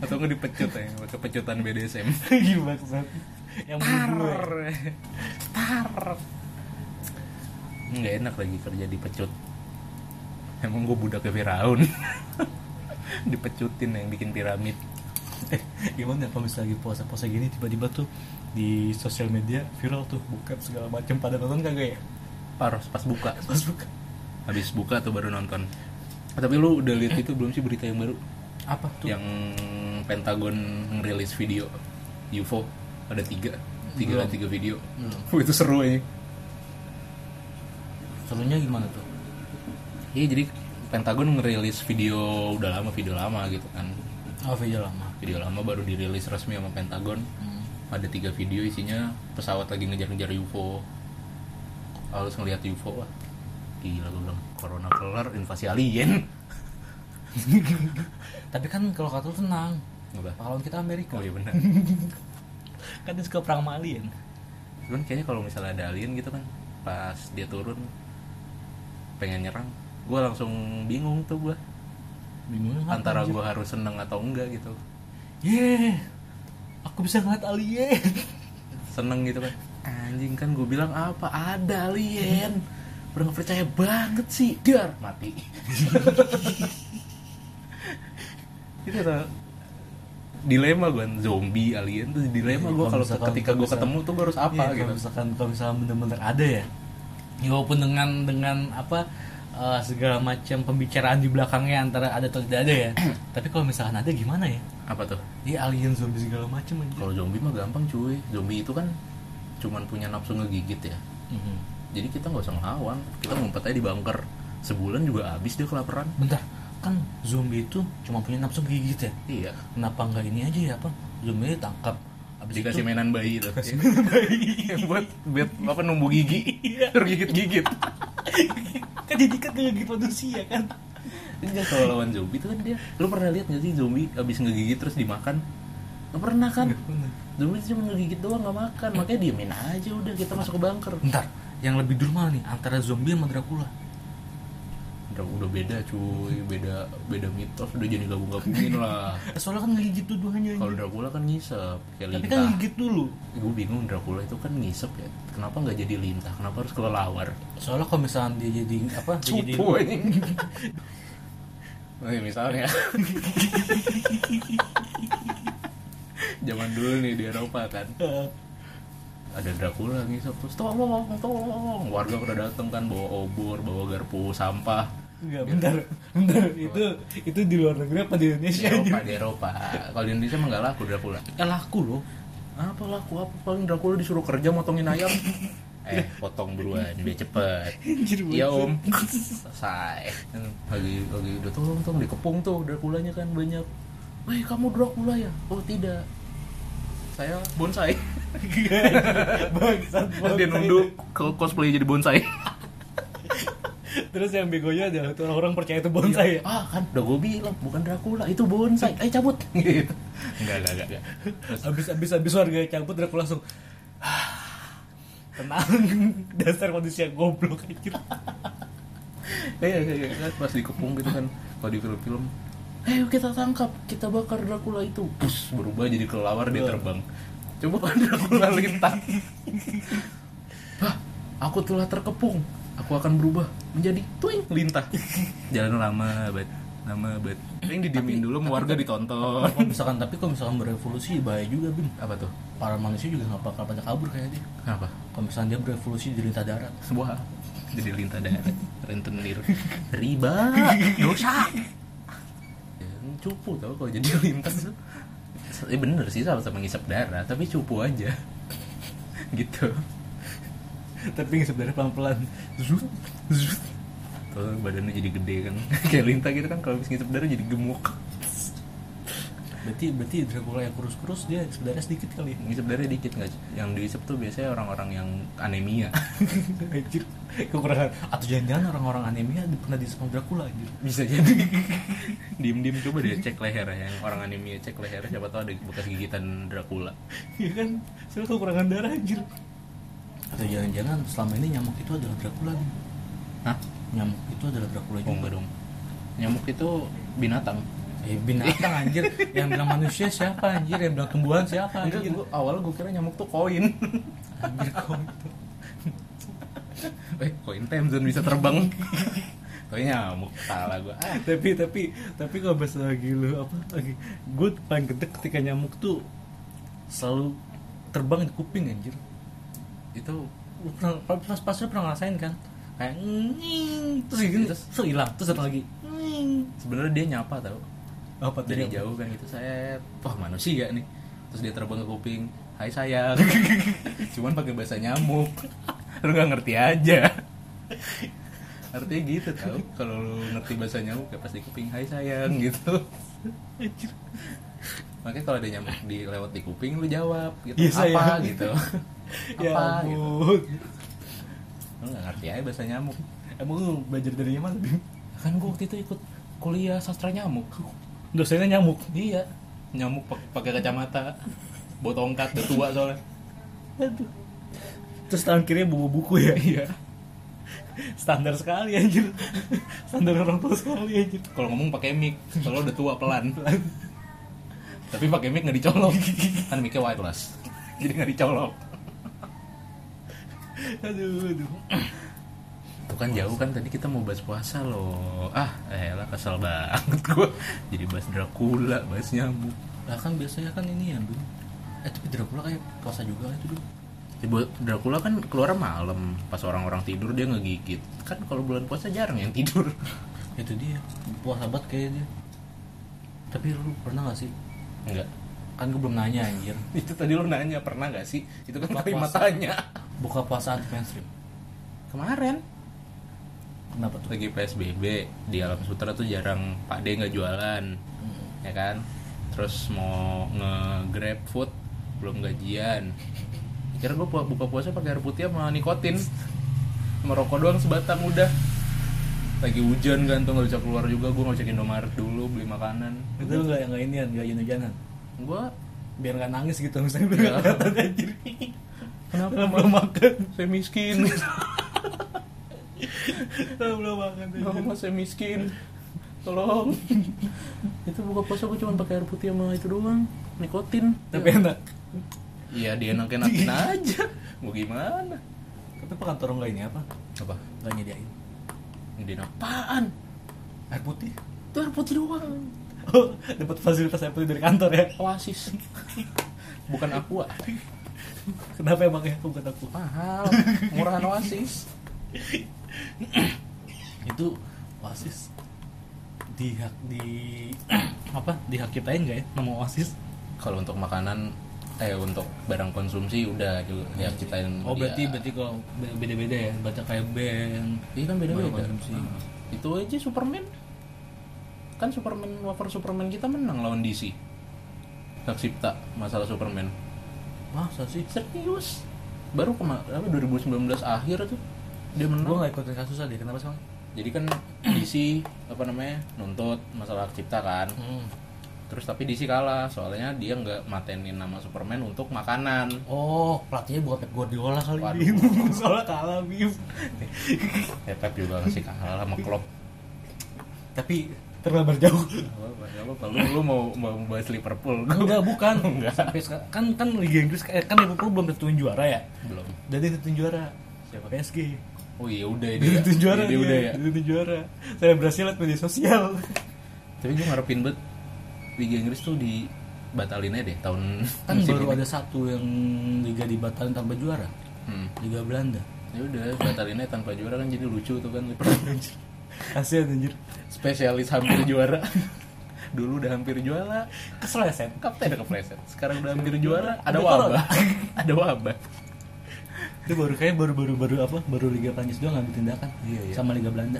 Speaker 1: Atau nggak dipecut ya, pakai pecutan BDSM.
Speaker 2: gimana banget yang berdua ya.
Speaker 1: Nggak enak lagi kerja dipecut. Emang gua budaknya Firaun. [laughs] Dipecutin yang bikin piramid.
Speaker 2: Eh, gimana kalau misalnya lagi puasa puasa gini tiba-tiba tuh di sosial media viral tuh buka segala macam pada nonton kagak ya
Speaker 1: Paros pas buka.
Speaker 2: pas buka
Speaker 1: Habis buka tuh baru nonton. Ah, Tapi lu udah lihat itu belum sih berita yang baru?
Speaker 2: apa tuh
Speaker 1: Yang Pentagon ngerilis video UFO ada tiga, tiga
Speaker 3: Belum.
Speaker 1: tiga video.
Speaker 3: Belum.
Speaker 1: Wah, itu seru ya.
Speaker 3: serunya gimana tuh
Speaker 1: Iya jadi Pentagon ngerilis video udah lama video lama gitu kan
Speaker 3: oh video lama
Speaker 1: video lama baru dirilis resmi sama Pentagon
Speaker 2: [laughs]
Speaker 3: Hmm.
Speaker 1: ada tiga video isinya pesawat lagi ngejar-ngejar UFO harus ngelihat UFO wah gila gue bilang corona kelar invasi alien [laughs]
Speaker 2: tapi kan kalau kata lu tenang
Speaker 1: Apa?
Speaker 2: pahlawan kita Amerika
Speaker 1: oh iya benar
Speaker 2: kan dia suka perang sama alien
Speaker 1: cuman kayaknya kalau misalnya ada alien gitu kan pas dia turun pengen nyerang gue langsung bingung tuh gue
Speaker 2: bingung
Speaker 1: antara gue harus seneng atau enggak gitu
Speaker 2: Yeay, aku bisa ngeliat alien.
Speaker 1: seneng gitu kan anjing kan gue bilang apa ada alien udah gak percaya banget sih dar
Speaker 2: [laughs]
Speaker 1: mati itu tuh Gitu dilema gue zombie alien tuh dilema gue kalau
Speaker 2: misalkan-
Speaker 1: ketika gue
Speaker 2: Iya, kalau misalkan-
Speaker 1: ketemu tuh gue harus apa
Speaker 2: Iya,
Speaker 1: gitu
Speaker 2: Kalau misalkan kalau misalkan bener-bener ada ya, ya walaupun dengan dengan apa eh, segala macam pembicaraan di belakangnya antara ada atau tidak ada
Speaker 1: [clears throat]
Speaker 2: ya. Tapi kalau misalkan ada gimana ya?
Speaker 1: apa tuh
Speaker 2: Iya alien zombie segala macam aja.
Speaker 1: kalau zombie mah gampang cuy zombie itu kan cuman punya nafsu ngegigit ya
Speaker 2: Mhm.
Speaker 1: jadi kita nggak usah ngelawan kita ngumpet aja di bunker sebulan juga habis dia kelaparan
Speaker 2: Bentar, kan zombie itu cuma punya nafsu gigit ya.
Speaker 1: iya
Speaker 2: Kenapa nggak ini aja ya apa? Zombie tangkap [laughs] habis
Speaker 1: dikasih Gitu.
Speaker 2: itu
Speaker 1: mainan Iya. bayi tuh Yang [laughs] buat buat apa numbu gigi [laughs] terus gigit gigit
Speaker 2: kan jadi kan gigit manusia kan.
Speaker 1: enggak kalau lawan zombie itu kan dia lu pernah lihat nggak sih zombie abis ngegigit terus dimakan nggak pernah kan zombie itu cuma ngegigit doang nggak makan makanya diemin aja udah kita masuk ke bunker
Speaker 2: Bentar, yang lebih durma nih antara zombie sama Dracula.
Speaker 1: udah, udah beda cuy beda beda mitos udah jadi gabung gabungin lah
Speaker 2: Soalnya kan ngegigit dua-duanya
Speaker 1: kalau ah.
Speaker 2: anjir.
Speaker 1: Dracula kan ngisep kayak
Speaker 2: Tapi kan
Speaker 1: lintah
Speaker 2: ngigit dulu.
Speaker 1: gue bingung Dracula itu kan ngisep ya kenapa nggak jadi lintah kenapa harus kelelawar
Speaker 2: Soalnya kalau misalkan dia jadi apa? Dia jadi
Speaker 1: Cupu ya? [laughs] anjing. Nih misalnya. [laughs] Zaman dulu nih di Eropa kan.
Speaker 2: Eh,
Speaker 1: Ada Dracula ngisap terus tolong, tolong. Warga udah dateng kan bawa obor, bawa garpu sampah.
Speaker 2: Enggak, bentar. Bentar. Itu itu di luar negeri apa
Speaker 1: Di
Speaker 2: di Indonesia?
Speaker 1: Eropa, di Eropa. Kalau di Indonesia mah nggak laku Dracula.
Speaker 2: Ya laku loh.
Speaker 1: Apa laku? Apa paling Dracula disuruh kerja motongin ayam? [laughs] eh, potong buruan biar cepet.
Speaker 2: Anjir
Speaker 1: Iya om Selesai Lagi, lagi udah tolong tolong dikepung tuh Draculanya kan banyak Weh kamu Dracula ya? Oh tidak Saya bonsai [laughs]
Speaker 2: Bangsat.
Speaker 1: Terus dia nunduk ke cosplay jadi bonsai
Speaker 2: Terus yang begonya adalah tuh orang-orang percaya itu bonsai ya.
Speaker 1: [laughs] ah kan udah gue bilang bukan Dracula itu bonsai ayo cabut [laughs] gitu enggak enggak enggak
Speaker 2: Abis abis abis warga cabut Dracula langsung "Ah, tenang [laughs] dasar manusia goblok anjir.
Speaker 1: iya iya iya kan pas dikepung gitu kan kalau di film-film ayo kita tangkap kita bakar Dracula itu Pus, berubah jadi kelelawar dia terbang coba kan Dracula lintang Hah, aku telah terkepung aku akan berubah menjadi tuing lintah jalan lama bet lama bet yang didiemin dulu sama warga ditonton
Speaker 3: Kalau misalkan tapi kalau misalkan berevolusi bahaya juga bin.
Speaker 1: apa tuh
Speaker 3: Para manusia juga nggak bakal pada kabur kayaknya.
Speaker 1: kenapa
Speaker 3: Kalau misalkan dia berevolusi di lintah darat. [laughs]
Speaker 1: sebuah jadi lintah daerah rentenir riba dosa Ya, cupu tau kalau jadi lintas tuh. Eh, bener sih sama-sama ngisap darah tapi cupu aja gitu
Speaker 2: Tapi sebenarnya pelan-pelan. Zut, zut.
Speaker 1: tuh badannya jadi gede kan [laughs] kayak lintah gitu kan kalau habis ngisap darah jadi gemuk
Speaker 3: Berarti berarti Dracula yang kurus-kurus dia sebenarnya sedikit kali. [laughs] ya?
Speaker 1: ngisap darah dikit nggak yang diisap tuh biasanya orang-orang yang anemia [laughs]
Speaker 2: Anjir, kekurangan.
Speaker 3: Atau jangan-jangan orang-orang anemia pernah di sama Dracula anjir.
Speaker 1: bisa jadi [laughs] diem-diem coba deh cek leher ya. yang orang anemia cek leher siapa tahu ada bekas gigitan Dracula
Speaker 2: Iya kan, soalnya kekurangan darah anjir.
Speaker 3: Atau jangan-jangan selama ini nyamuk itu adalah Dracula. Bin.
Speaker 1: Hah?
Speaker 3: Nyamuk itu adalah Dracula
Speaker 1: Oh,
Speaker 3: juga.
Speaker 1: enggak dong. Nyamuk itu binatang.
Speaker 3: Eh binatang anjir, yang bilang manusia siapa anjir, yang bilang tumbuhan siapa
Speaker 1: Ah, Enggak,
Speaker 3: anjir.
Speaker 1: gua, awal gue kira nyamuk tuh koin.
Speaker 3: Anjir kau itu.
Speaker 1: [laughs] eh, koin Temzon bisa [laughs] terbang. Koin nyamuk, salah gue. Ah,
Speaker 2: tapi tapi tapi kalau bahas lagi lu apa lagi gue paling gede ketika nyamuk tuh
Speaker 3: Selalu terbang di kuping anjir.
Speaker 1: itu
Speaker 3: Lu pernah pas pas lu pernah ngerasain kan? Kayak nging terus
Speaker 2: gitu,
Speaker 3: gini terus terus hilang terus datang lagi. Nging.
Speaker 1: sebenarnya dia nyapa tau.
Speaker 2: Oh, apa
Speaker 1: Dari
Speaker 2: tadi
Speaker 1: jauh kan gitu, saya wah manusia nih. Terus dia terbang ke kuping. Hai sayang. [laughs] Cuman pakai bahasa nyamuk. [laughs] Lu nggak ngerti aja. Artinya gitu tau. Kalau lu ngerti bahasa nyamuk ya pasti kuping hai sayang [laughs] gitu.
Speaker 2: Anjir.
Speaker 1: Makanya kalau ada nyamuk di lewat di kuping lu jawab gitu.
Speaker 2: Iya,
Speaker 1: apa
Speaker 2: sayang. [laughs]
Speaker 1: gitu.
Speaker 2: ya
Speaker 1: apa gitu.
Speaker 2: ampun
Speaker 1: Lu gak ngerti aja bahasa nyamuk.
Speaker 2: emang lu belajar dari mana bim
Speaker 1: Kan gua waktu itu ikut kuliah sastra nyamuk.
Speaker 2: dosennya nyamuk
Speaker 1: Iya. Nyamuk pak- pakai kacamata. Bawa tongkat udah tua soalnya.
Speaker 2: aduh terus tangan kirinya bawa buku ya iya standar sekali anjir standar orang tua sekali anjir
Speaker 1: Kalau ngomong pakai mic, kalau udah tua pelan. Tapi pakai mic nggak dicolok. Kan micnya wireless. Jadi nggak dicolok.
Speaker 2: aduh aduh
Speaker 1: Tuh kan jauh kan tadi kita mau bahas puasa loh. Ah, elah kesel banget gua. Jadi bahas Dracula, bahas nyamuk.
Speaker 3: Lah kan biasanya kan ini ya, Bin. Eh tapi Dracula kayak puasa juga kan itu dulu.
Speaker 1: Ibu Dracula kan keluar malam pas orang-orang tidur dia ngegigit. Kan kalau bulan puasa jarang yang tidur.
Speaker 3: Itu dia, puasa banget kayaknya dia. Tapi lu pernah gak sih?
Speaker 1: Enggak.
Speaker 3: Kan gue belum nanya anjir.
Speaker 1: Itu tadi lu nanya pernah gak sih? Itu kan
Speaker 3: Buka
Speaker 1: kalimat
Speaker 3: puasa.
Speaker 1: tanya.
Speaker 3: Buka puasa anti mainstream.
Speaker 1: Kemarin
Speaker 3: Kenapa tuh?
Speaker 2: gitu.
Speaker 1: lagi PSBB di Alam Sutra tuh jarang Pak D nggak jualan,
Speaker 3: Hmm.
Speaker 1: ya kan? Terus mau nge-grab food belum gajian. Kira gue buka puasa pakai air putih sama nikotin. Sama rokok doang sebatang udah. Lagi hujan kan tuh nggak bisa keluar juga gue ngecek Indomaret dulu beli makanan.
Speaker 2: itu nggak yang nggak inian nggak jalan jalan
Speaker 1: Gue
Speaker 2: biar nggak nangis gitu misalnya biar nggak kelihatan anjir
Speaker 1: kenapa
Speaker 2: Kalau belum makan
Speaker 1: saya miskin [laughs]
Speaker 2: Kalau belum makan
Speaker 1: [laughs]
Speaker 2: anjir.
Speaker 1: mama Nah, saya miskin tolong [laughs] itu buka puasa gue cuma pakai air putih sama itu doang nikotin Ya.
Speaker 2: tapi enak
Speaker 1: [laughs] iya dia enakin enakin aja mau gimana
Speaker 2: tapi kantor nggak ini apa
Speaker 1: apa
Speaker 3: Gak nyediain.
Speaker 1: dia apaan
Speaker 2: air putih
Speaker 1: itu air putih doang
Speaker 2: oh dapat fasilitas air putih dari kantor ya
Speaker 1: [laughs] oasis bukan aqua
Speaker 2: kenapa emang ya aku bukan aku
Speaker 1: [laughs] mahal murahan oasis
Speaker 3: Itu Oasis di hak di
Speaker 2: [clears throat]
Speaker 3: apa di hak kitain nggak ya nama Oasis
Speaker 1: kalau untuk makanan eh untuk barang konsumsi udah juga ya kitain
Speaker 3: oh berarti
Speaker 1: dia.
Speaker 3: berarti kalau beda beda ya baca kayak band
Speaker 1: Iya kan
Speaker 3: Barang
Speaker 1: beda-beda.
Speaker 3: konsumsi.
Speaker 1: Heeh. Itu aja Superman. Kan Superman wafer Superman kita menang lawan DC. Hak cipta masalah Superman.
Speaker 3: masa sih
Speaker 1: Serius. Baru kema apa 2019 akhir tuh dia menang.
Speaker 3: gue nggak ikutin kasusnya deh kenapa sih Bang?
Speaker 1: jadi kan DC apa namanya nuntut masalah hak cipta kan
Speaker 5: Hmm.
Speaker 1: terus tapi DC kalah soalnya dia nggak matenin nama Superman untuk makanan
Speaker 5: Oh, pelatihnya bukan Pep Guardiola kali.
Speaker 1: Waduh.
Speaker 5: Bim.
Speaker 2: [laughs]
Speaker 5: Soalnya kalah, Bim.
Speaker 1: ya Pep juga masih kalah sama Klopp
Speaker 5: Tapi terlambat jauh.
Speaker 1: Gak apa-apa, lu, lu mau, mau bahas Liverpool
Speaker 5: Enggak, bukan. Sampai seka- kan kan Liga Inggris eh, kan Liverpool belum tentu juara ya.
Speaker 1: belum
Speaker 5: Jadi tentu juara.
Speaker 1: Siapa?
Speaker 5: PSG.
Speaker 1: oh iya [laughs] udah ya
Speaker 5: Dia
Speaker 1: dia
Speaker 5: tentu juara
Speaker 1: Iya, dia udah ya
Speaker 5: Dia tentu juara. Saya berhasil lihat media sosial.
Speaker 1: tapi gue ngarepin banget Liga Inggris tuh dibatalin aja deh tahun
Speaker 2: Kan
Speaker 1: musim
Speaker 2: baru
Speaker 1: ini.
Speaker 2: ada satu yang liga dibatalin tanpa juara.
Speaker 1: hmm.
Speaker 2: Liga Belanda.
Speaker 1: ya udah batalin aja tanpa juara kan jadi lucu tuh kan Liverpool
Speaker 5: Kasihan anjir.
Speaker 1: spesialis hampir juara dulu udah hampir juara
Speaker 5: Kesel ya, Sen.
Speaker 1: kapten ada kepleset sekarang udah hampir juara ada
Speaker 5: Ada
Speaker 1: wabah [laughs] ada wabah
Speaker 5: Itu baru kayak baru-baru baru apa? Baru Liga Prancis doang ngambil tindakan.
Speaker 1: Iya, iya.
Speaker 5: Sama Liga
Speaker 2: [clears throat]
Speaker 5: Belanda.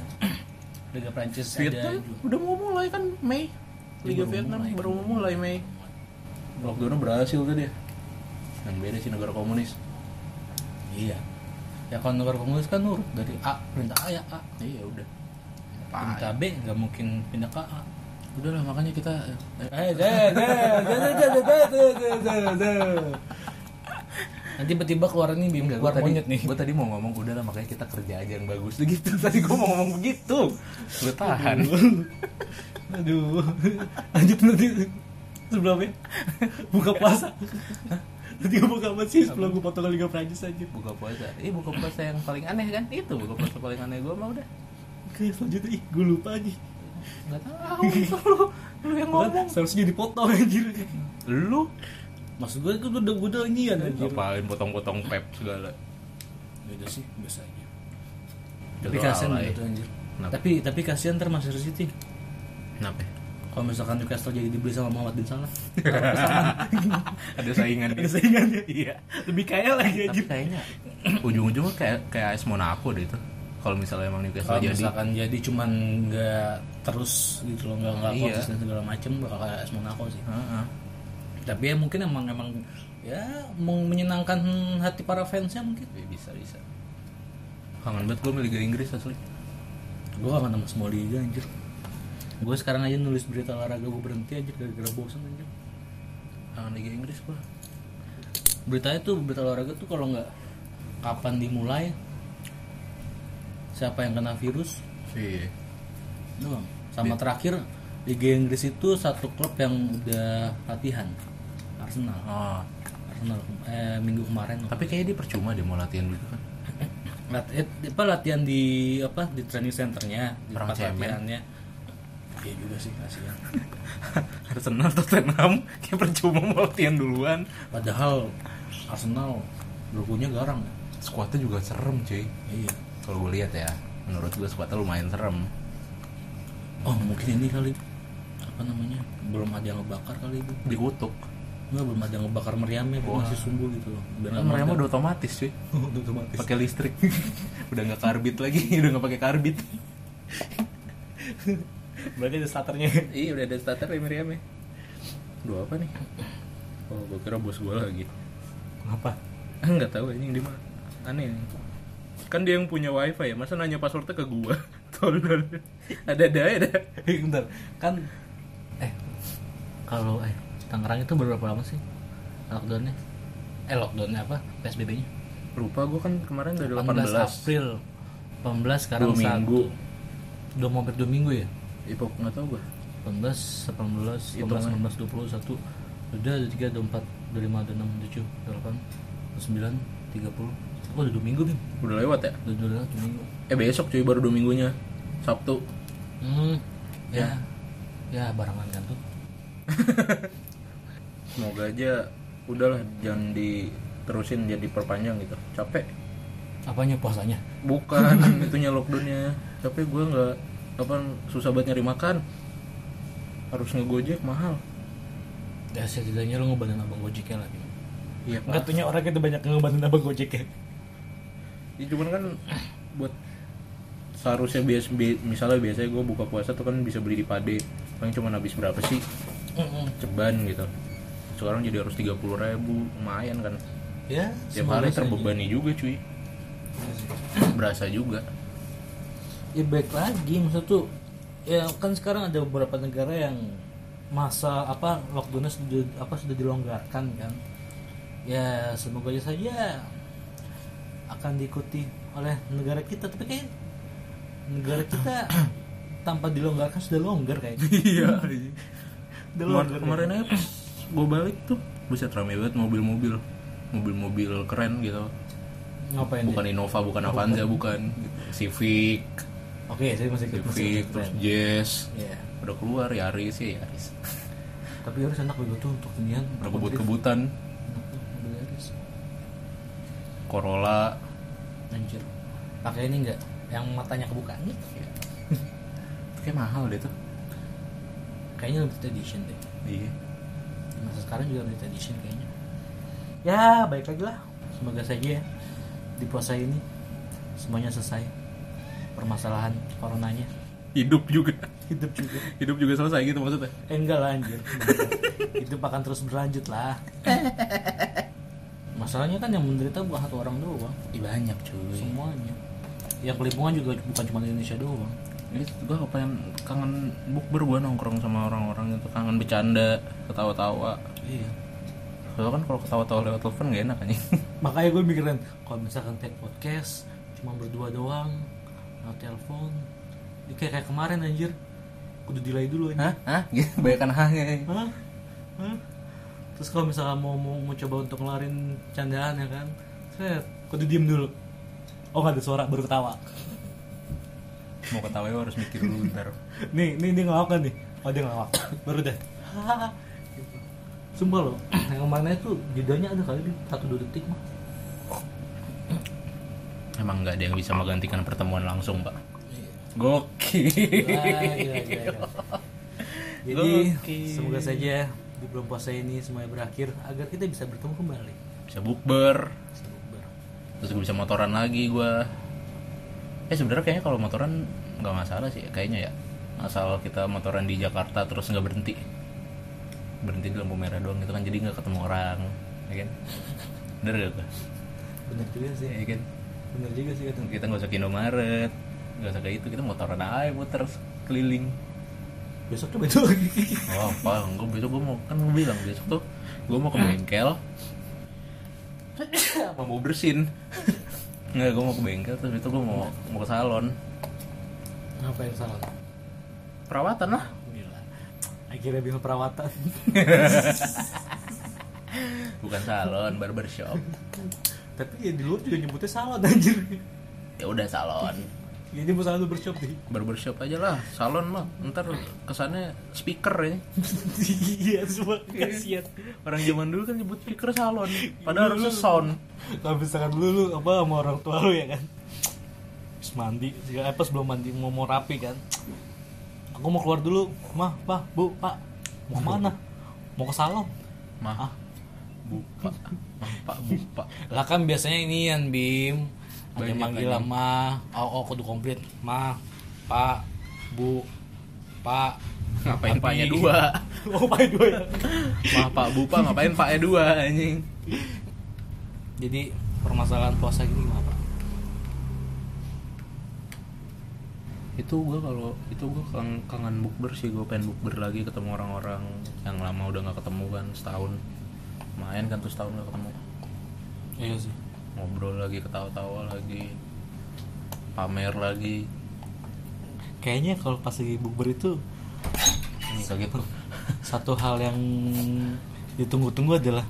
Speaker 5: Liga Prancis ada
Speaker 1: Vietnam udah mau mulai kan Mei Liga
Speaker 2: Baru
Speaker 1: Vietnam
Speaker 2: mulai.
Speaker 1: baru mau mulai Mei lockdownnya berhasil tuh dia yang beda sih negara komunis
Speaker 2: Iya. Ya kalau negara komunis kan nurut dari A perintah A ya A.
Speaker 1: iya udah
Speaker 2: Perintah B nggak mungkin pindah ke A.
Speaker 1: udah lah makanya kita
Speaker 2: Eh, deh, deh, deh, deh, deh, deh, deh, deh, deh, deh. Nanti tiba-tiba keluar ini bim keluar monyet nih.
Speaker 1: gue tadi mau ngomong udah lah makanya kita kerja aja yang bagus [laughs] gitu tadi gue mau ngomong begitu gue tahan
Speaker 5: [laughs] Aduh. Lanjut nanti sebelumnya ya? buka puasa. Nanti gue buka apa sih sebelum gue potong Liga Prancis aja.
Speaker 1: buka puasa eh buka puasa yang paling aneh kan itu buka puasa paling aneh gue mah udah
Speaker 5: Oke, selanjutnya ih gue lupa aja.
Speaker 1: nggak [laughs] tahu lu lu yang ngomong
Speaker 5: Seharusnya dipotong anjir.
Speaker 1: lu
Speaker 2: Maksud gue itu udah udah ini ya anjir.
Speaker 1: ngapain potong-potong pep segala
Speaker 2: Beda sih biasa aja.
Speaker 1: Udah
Speaker 2: Tapi
Speaker 1: lu
Speaker 2: kasihan
Speaker 1: alay.
Speaker 2: gitu anjir.
Speaker 1: Kenapa?
Speaker 2: Tapi tapi kasihan ntar Manchester City.
Speaker 1: kenapa ya?
Speaker 2: Kalau misalkan Newcastle jadi dibeli sama Muhammad bin
Speaker 5: [laughs]
Speaker 2: Salah.
Speaker 1: [laughs] ada saingan gitu.
Speaker 5: Ada saingannya. Iya. Lebih kaya gitu. lagi
Speaker 1: tapi
Speaker 5: anjir.
Speaker 1: [clears throat] kayaknya ujung-ujungnya kayak kayak AS Monaco deh itu kalau misalnya emang Newcastle
Speaker 2: Kalau
Speaker 1: jadi
Speaker 2: misalkan jadi cuman nggak terus gitu loh nggak nggak
Speaker 1: Iya.
Speaker 2: konsisten segala macem bakal kayak AS Monaco sih.
Speaker 1: Heeh.
Speaker 2: Tapi ya mungkin emang emang ya mau menyenangkan hati para fansnya mungkin.
Speaker 1: Ya, bisa bisa kangen banget gue sama Liga Inggris asli
Speaker 2: Gue gak ketemu semua liga anjir Gue sekarang aja nulis berita olahraga gue berhenti aja gara-gara bosan anjir
Speaker 1: kangen Liga Inggris gue
Speaker 2: Beritanya tuh berita olahraga tuh kalau nggak kapan dimulai Siapa yang kena virus
Speaker 1: iya
Speaker 2: doang Sama terakhir Liga Inggris itu satu klub yang udah latihan Arsenal
Speaker 1: oh.
Speaker 2: Arsenal eh, minggu kemarin
Speaker 1: tapi kayaknya dia percuma deh mau latihan gitu kan [laughs]
Speaker 2: Lat- eh, apa latihan di apa di training centernya di
Speaker 1: Orang
Speaker 2: tempat
Speaker 1: cemen.
Speaker 2: latihannya Iya juga sih kasihan
Speaker 1: Arsenal Tottenham kayak percuma mau latihan duluan
Speaker 2: Padahal Arsenal logonya garang.
Speaker 1: skuadnya juga serem cuy
Speaker 2: Iya.
Speaker 1: kalau gue lihat ya menurut gue skuadnya lumayan serem
Speaker 2: Oh mungkin ini kali apa namanya belum ada yang ngebakar kali itu.
Speaker 1: dikutuk
Speaker 2: Enggak belum ada yang ngebakar meriamnya Bu.
Speaker 1: Wah.
Speaker 2: masih sumbu gitu loh. Biar
Speaker 1: Kan
Speaker 2: nggak
Speaker 1: mereka
Speaker 2: meledak. [laughs]
Speaker 1: udah otomatis cuy
Speaker 5: Udah otomatis.
Speaker 1: pakai listrik [laughs] udah nggak karbit lagi [laughs] udah nggak pakai karbit
Speaker 5: Berarti ada starternya.
Speaker 1: iya udah ada starter ya Miriam ya dua apa nih oh gue kira bos gue lagi
Speaker 2: [laughs]
Speaker 5: Kenapa?
Speaker 1: Ah, nggak tahu ini di mana aneh nih. kan dia yang punya wifi ya masa nanya passwordnya ke gue [laughs] tolol ada ada ada
Speaker 5: Eh, bentar. Kan
Speaker 2: Eh kalau eh Tangerang itu baru berapa lama sih lockdownnya? Eh lockdownnya apa? PSBB-nya?
Speaker 1: lupa gue kan kemarin dari 18
Speaker 2: April. 18 sekarang
Speaker 1: dua minggu
Speaker 2: Satu, udah mau hampir dua minggu ya?
Speaker 1: ipok nggak tahu gue
Speaker 2: 18, 18, 19,
Speaker 1: Hitungan.
Speaker 2: 19, 21 Udah ada 3, ada 4, ada 5, ada 6, 7, ada 8, 9, 30 Oh udah 2 minggu Bim
Speaker 1: udah lewat ya
Speaker 2: Udah udah lewat 2 minggu
Speaker 1: eh besok cuy baru dua minggunya sabtu
Speaker 2: Hmm Ya Ya barangan kan tuh
Speaker 1: semoga aja udahlah jangan diterusin jadi perpanjang gitu capek
Speaker 2: Apanya puasanya?
Speaker 1: bukan
Speaker 2: [laughs]
Speaker 1: itunya lockdownnya tapi gue nggak apa susah banget nyari makan harus ngegojek mahal
Speaker 2: Ya setidaknya lo ngebantuin abang gojeknya lagi
Speaker 1: iya
Speaker 5: nggak tuhnya orang itu banyak yang ngebantuin abang Gojek ya.
Speaker 1: ya, cuman kan buat seharusnya biasa bi- misalnya biasanya gue buka puasa tuh kan bisa beli di pade paling cuman habis berapa sih ceban gitu sekarang jadi harus 30.000 ribu lumayan kan
Speaker 2: Ya Iya
Speaker 1: tiap hari terbebani juga cuy berasa juga
Speaker 2: ya baik lagi maksud tuh ya kan sekarang ada beberapa negara yang masa apa lockdownnya sudah apa sudah dilonggarkan kan ya semoga aja saja akan diikuti oleh negara kita tapi kayak negara
Speaker 1: [clears throat]
Speaker 2: kita tanpa dilonggarkan sudah longgar kayak
Speaker 1: [laughs] iya
Speaker 2: Udah
Speaker 1: Kemar-
Speaker 2: longgar
Speaker 1: kemarin aja pas gue balik tuh buset rame banget mobil-mobil mobil-mobil keren gitu
Speaker 2: ngapain
Speaker 1: bukan
Speaker 2: dia?
Speaker 1: Innova bukan Avanza bukan Civic
Speaker 2: oke saya masih ikut masih
Speaker 1: kan? Civic
Speaker 2: ikut
Speaker 1: terus
Speaker 2: tren.
Speaker 1: Jazz
Speaker 2: Iya.
Speaker 1: udah keluar Yaris ya Yaris
Speaker 2: tapi harus enak begitu tuh untuk inian
Speaker 1: udah kebut-kebutan
Speaker 2: Enak tuh, mobil Yaris.
Speaker 1: Corolla
Speaker 2: anjir pakai ini enggak yang matanya kebuka nih
Speaker 1: kayak mahal deh tuh
Speaker 2: kayaknya limited edition deh
Speaker 1: iya
Speaker 2: masa sekarang juga limited edition kayaknya ya baik lagi lah semoga saja ya di puasa ini semuanya selesai permasalahan coronanya
Speaker 1: hidup juga
Speaker 2: hidup juga
Speaker 1: hidup juga selesai gitu maksudnya
Speaker 2: eh, enggak lah anjir hidup akan terus berlanjut lah masalahnya kan yang menderita bukan satu orang doang
Speaker 1: Ih, banyak cuy
Speaker 2: semuanya yang kelingkungan juga bukan cuma di Indonesia doang
Speaker 1: Ini gue pengen kangen bukber gue nongkrong sama orang-orang itu kangen bercanda ketawa-tawa
Speaker 2: iya
Speaker 1: soalnya kan kalau ketawa-tawa lewat telepon gak enak anjing
Speaker 2: makanya gue mikirin kalau misalkan take podcast cuma berdua doang no telepon Ini kayak kayak kemarin anjir kudu delay dulu anjir
Speaker 1: hah hah gitu banyakan hahnya
Speaker 2: Hah? Hah? terus kalau misalkan mau, mau mau coba untuk ngelarin candaan ya kan set kudu diem dulu oh nggak ada suara baru ketawa [laughs]
Speaker 1: mau ketawa ya harus mikir dulu bentar
Speaker 2: nih nih dia ngelawak kan nih oh dia ngelawak [coughs] baru deh Hahaha. Gitu. sumpah loh [coughs] yang kemarin itu jedanya ada kali di satu dua detik mah
Speaker 1: emang nggak ada yang bisa menggantikan pertemuan langsung pak gokil
Speaker 2: Wah, gila, gila, gila. Iya, Jadi
Speaker 1: Gokil.
Speaker 2: semoga saja di bulan puasa ini semuanya berakhir agar kita bisa bertemu kembali.
Speaker 1: bisa bukber
Speaker 2: Bisa bukber.
Speaker 1: terus gue bisa motoran lagi gue eh sebenarnya kayaknya kalau motoran nggak masalah sih kayaknya ya asal kita motoran di Jakarta terus nggak berhenti berhenti di lampu merah doang gitu kan jadi nggak ketemu orang ya kan [laughs] bener gak tuh
Speaker 2: Bener juga sih.
Speaker 1: ya kan
Speaker 2: Bener juga sih kata.
Speaker 1: kita nggak usah ke Indomaret nggak usah kayak itu kita motoran aja muter keliling
Speaker 2: Besok coba itu lagi. [laughs]
Speaker 1: oh apa gue besok gue mau kan gue bilang besok tuh gue mau ke [coughs] bengkel sama mau bersin nggak gue mau ke bengkel terus itu gue mau mau ke salon
Speaker 2: Ngapain salah?
Speaker 1: perawatan lah
Speaker 2: Gila. Akhirnya bingung perawatan. [laughs]
Speaker 1: bukan salon barbershop
Speaker 2: Tapi ya di luar juga nyebutnya salon anjir.
Speaker 1: ya udah salon
Speaker 2: Jadi mau salon bershop deh.
Speaker 1: barbershop aja lah salon mah ntar kesannya speaker ya
Speaker 2: [laughs] Iya semua kasihan.
Speaker 1: orang zaman dulu kan nyebut speaker salon padahal harusnya sound
Speaker 6: Kalau misalkan dulu lu apa sama orang tua lu ya kan?
Speaker 2: Terus mandi, segala- apa sebelum mandi mau mau rapi kan. Aku mau keluar dulu, mah, pak, bu, pak, mau mana? Mau ke salon.
Speaker 1: mah
Speaker 2: Ah.
Speaker 1: bupa mah pak bupa
Speaker 2: Lah kan biasanya ini yang Bim ada
Speaker 1: Banyak
Speaker 2: panggilan
Speaker 1: lagi.
Speaker 2: mah, oh, oh kudu komplit, mah, pak, bu, pak,
Speaker 1: ngapain
Speaker 2: Tapi-
Speaker 1: paknya E dua
Speaker 2: [laughs] Oh pak dua ya.
Speaker 1: mah pak bupa ngapain paknya dua anjing
Speaker 2: Jadi permasalahan puasa gini gimana pak?
Speaker 1: itu gue kalau itu gue kangen, kangen bukber sih gue pengen bukber lagi ketemu orang-orang yang lama udah nggak ketemu kan setahun main kan tuh setahun nggak ketemu
Speaker 2: Iya sih.
Speaker 1: ngobrol lagi ketawa-tawa lagi pamer lagi
Speaker 2: Kayaknya kalau pas lagi bukber itu
Speaker 1: ini gitu. kaget tuh
Speaker 2: satu hal yang ditunggu-tunggu adalah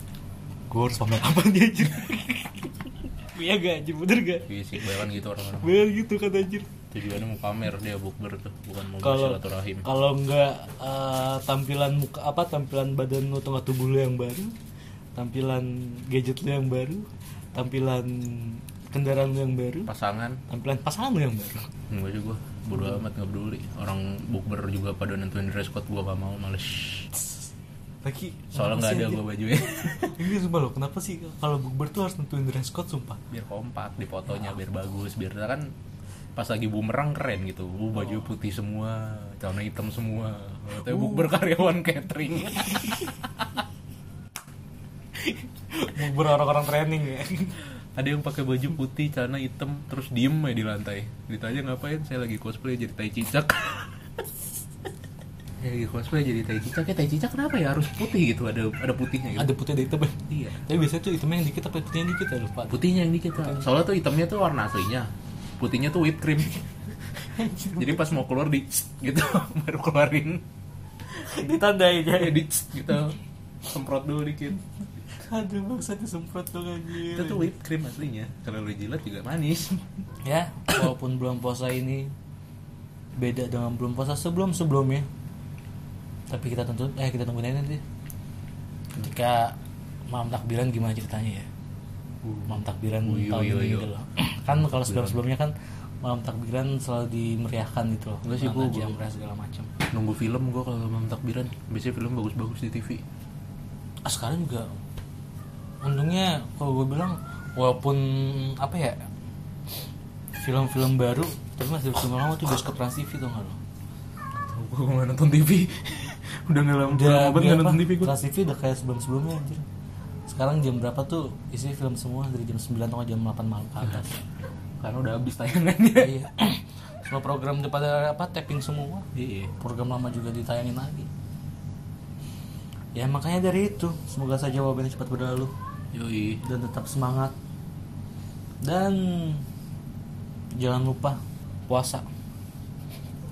Speaker 2: gue harus pamer apa dia anjir Iya gak anjir, bener gak?
Speaker 1: iya sih kebanyakan gitu orang-orang
Speaker 2: Bener gitu kan anjir
Speaker 1: tujuannya mau pamer dia bukber tuh bukan mau
Speaker 2: Kalau
Speaker 1: bersilaturahim
Speaker 2: kalau nggak eh, tampilan muka apa tampilan badan lu atau nggak tubuh lu yang baru, tampilan gadget lu yang baru, tampilan kendaraan lu yang baru,
Speaker 1: pasangan
Speaker 2: tampilan pasangan lu yang baru.
Speaker 1: enggak sih gue bodo amat nggak peduli orang bukber juga pada nentuin dress code gue gak mau males
Speaker 2: Lagi
Speaker 1: soalnya nggak
Speaker 2: kenapa
Speaker 1: ada
Speaker 2: sih
Speaker 1: gue bajunya [laughs]
Speaker 2: anjir? Ini sumpah loh, kenapa sih kalau bukber tuh harus nentuin dress code [laughs] sumpah?
Speaker 1: biar kompak di fotonya biar bagus biar kan pas lagi bumerang keren gitu Bu, baju putih semua celana hitam semua tapi bukber karyawan catering [laughs]
Speaker 2: Bukber orang-orang training ya.
Speaker 1: ada yang pakai baju putih celana hitam terus diem aja di lantai ditanya ngapain saya lagi cosplay jadi tai cicak [laughs] saya lagi cosplay jadi tai cicak ya tai cicak kenapa ya harus putih gitu ada ada putihnya gitu
Speaker 2: Ada putih ada hitam.
Speaker 1: iya
Speaker 2: Tapi biasanya tuh hitamnya yang dikit apa putihnya yang dikit ya lupa.
Speaker 1: putihnya yang dikit Kak. soalnya tuh hitamnya tuh warna aslinya putihnya tuh whipped [laughs] cream jadi pas mau keluar di gitu [laughs] baru keluarin
Speaker 2: Ditandai
Speaker 1: ya di gitu semprot dulu dikit
Speaker 2: Aduh bangsa disemprot dong anjir.
Speaker 1: itu tuh whipped cream aslinya kalau lu jilat juga manis
Speaker 2: ya walaupun bulan puasa ini beda dengan bulan puasa sebelum sebelumnya tapi kita tentu eh kita tungguin aja nanti ketika malam takbiran gimana ceritanya ya
Speaker 1: Uh.
Speaker 2: malam takbiran
Speaker 1: Uyu,
Speaker 2: tahun
Speaker 1: uyu,
Speaker 2: ini
Speaker 1: uyu.
Speaker 2: gitu loh kan kalau sebelum sebelumnya kan malam takbiran selalu dimeriahkan gitu loh
Speaker 1: Enggak sih,
Speaker 2: Malam
Speaker 1: gua-
Speaker 2: takjiah meriah segala macam
Speaker 1: nunggu film gua kalau malam takbiran biasanya film bagus-bagus di TV
Speaker 2: ah, sekarang juga untungnya kalau gue bilang walaupun apa ya film-film baru tapi masih film lama tuh bioskop Trans TV tuh nggak loh
Speaker 1: Tahu gua nggak nonton TV [laughs] udah nggak lama udah lama
Speaker 2: udah
Speaker 1: banget nggak nonton TV gua
Speaker 2: Trans TV udah kayak sebelum sebelumnya anjir sekarang jam berapa tuh isi film semua dari jam 9 atau jam 8 malam ke
Speaker 1: [laughs]
Speaker 2: atas
Speaker 1: karena udah habis tayangannya
Speaker 2: iya semua program udah pada apa tapping semua
Speaker 1: iya
Speaker 2: program lama juga ditayangin lagi ya makanya dari itu semoga saja wabahnya cepat berlalu
Speaker 1: yoi
Speaker 2: dan tetap semangat dan jangan lupa puasa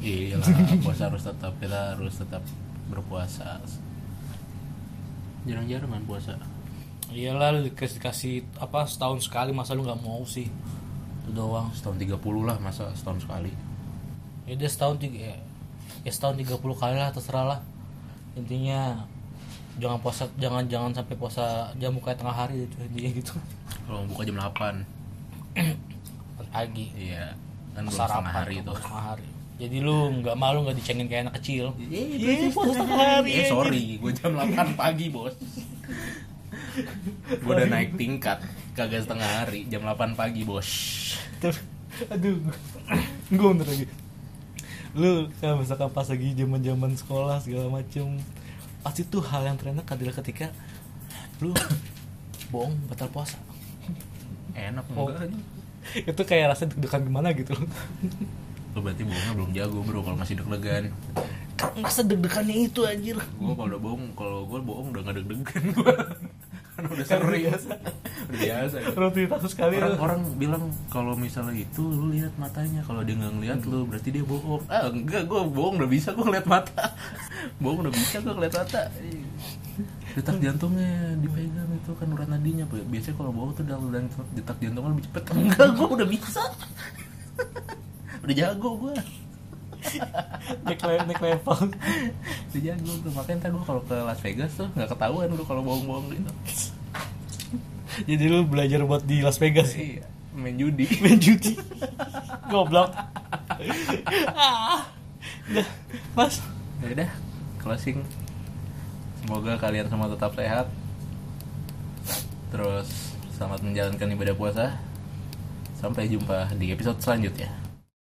Speaker 1: iya puasa harus tetap kita harus tetap berpuasa jarang-jarang kan puasa
Speaker 2: iyalah dikasih kasih apa setahun sekali masa lu nggak mau sih itu doang
Speaker 1: setahun 30 lah masa setahun sekali
Speaker 2: ya udah setahun tiga ya, ya setahun 30 kali lah terserah lah intinya jangan puasa jangan jangan sampai puasa jam buka tengah hari gitu intinya gitu
Speaker 1: kalau buka jam 8
Speaker 2: pagi
Speaker 1: iya kan belum
Speaker 2: sarapan
Speaker 1: setengah hari itu
Speaker 2: tengah hari jadi lu nggak malu nggak dicengin kayak anak kecil
Speaker 1: Iya, Eh, sorry, gue jam 8 pagi, Bos. gue udah naik tingkat, kagak setengah hari, jam 8 pagi, Bos.
Speaker 2: Terus, aduh gue bener lagi lu kalau misalkan pas lagi zaman zaman sekolah segala macem pasti tuh hal yang terenak adalah ketika lu bohong batal puasa
Speaker 1: Enak
Speaker 2: Oh.
Speaker 1: enggak?
Speaker 2: itu kayak rasa deg-degan gimana gitu loh
Speaker 1: Lo Oh, berarti bohongnya belum jago, Bro, kalau masih deg-degan.
Speaker 2: karena deg-degannya itu anjir
Speaker 1: Gue kalau udah bohong, kalau gue bohong udah gak deg-degan gue. Karena udah sering. udah biasa. ya.
Speaker 2: rutinitas sekali
Speaker 1: Orang,
Speaker 2: lu
Speaker 1: orang bilang kalau misalnya itu lu lihat matanya kalau dia nggak ngeliat lu berarti dia bohong ah enggak gue bohong udah bisa gue ngeliat mata [laughs] bohong udah bisa gue ngeliat mata detak jantungnya dipegang itu kan urat nadinya Pak. biasanya kalau bohong tuh dalam dan detak jantungnya lebih cepet enggak gue udah bisa [laughs] udah jago gue
Speaker 2: naik, le- naik level
Speaker 1: udah jago gue makanya ntar gue kalau ke Las Vegas tuh nggak ketahuan gue kalau bohong-bohong gitu
Speaker 2: jadi lu belajar buat di Las Vegas ya?
Speaker 1: iya main judi
Speaker 2: main judi goblok Ah. Dah, mas
Speaker 1: ya udah closing semoga kalian semua tetap sehat terus selamat menjalankan ibadah puasa sampai jumpa di episode selanjutnya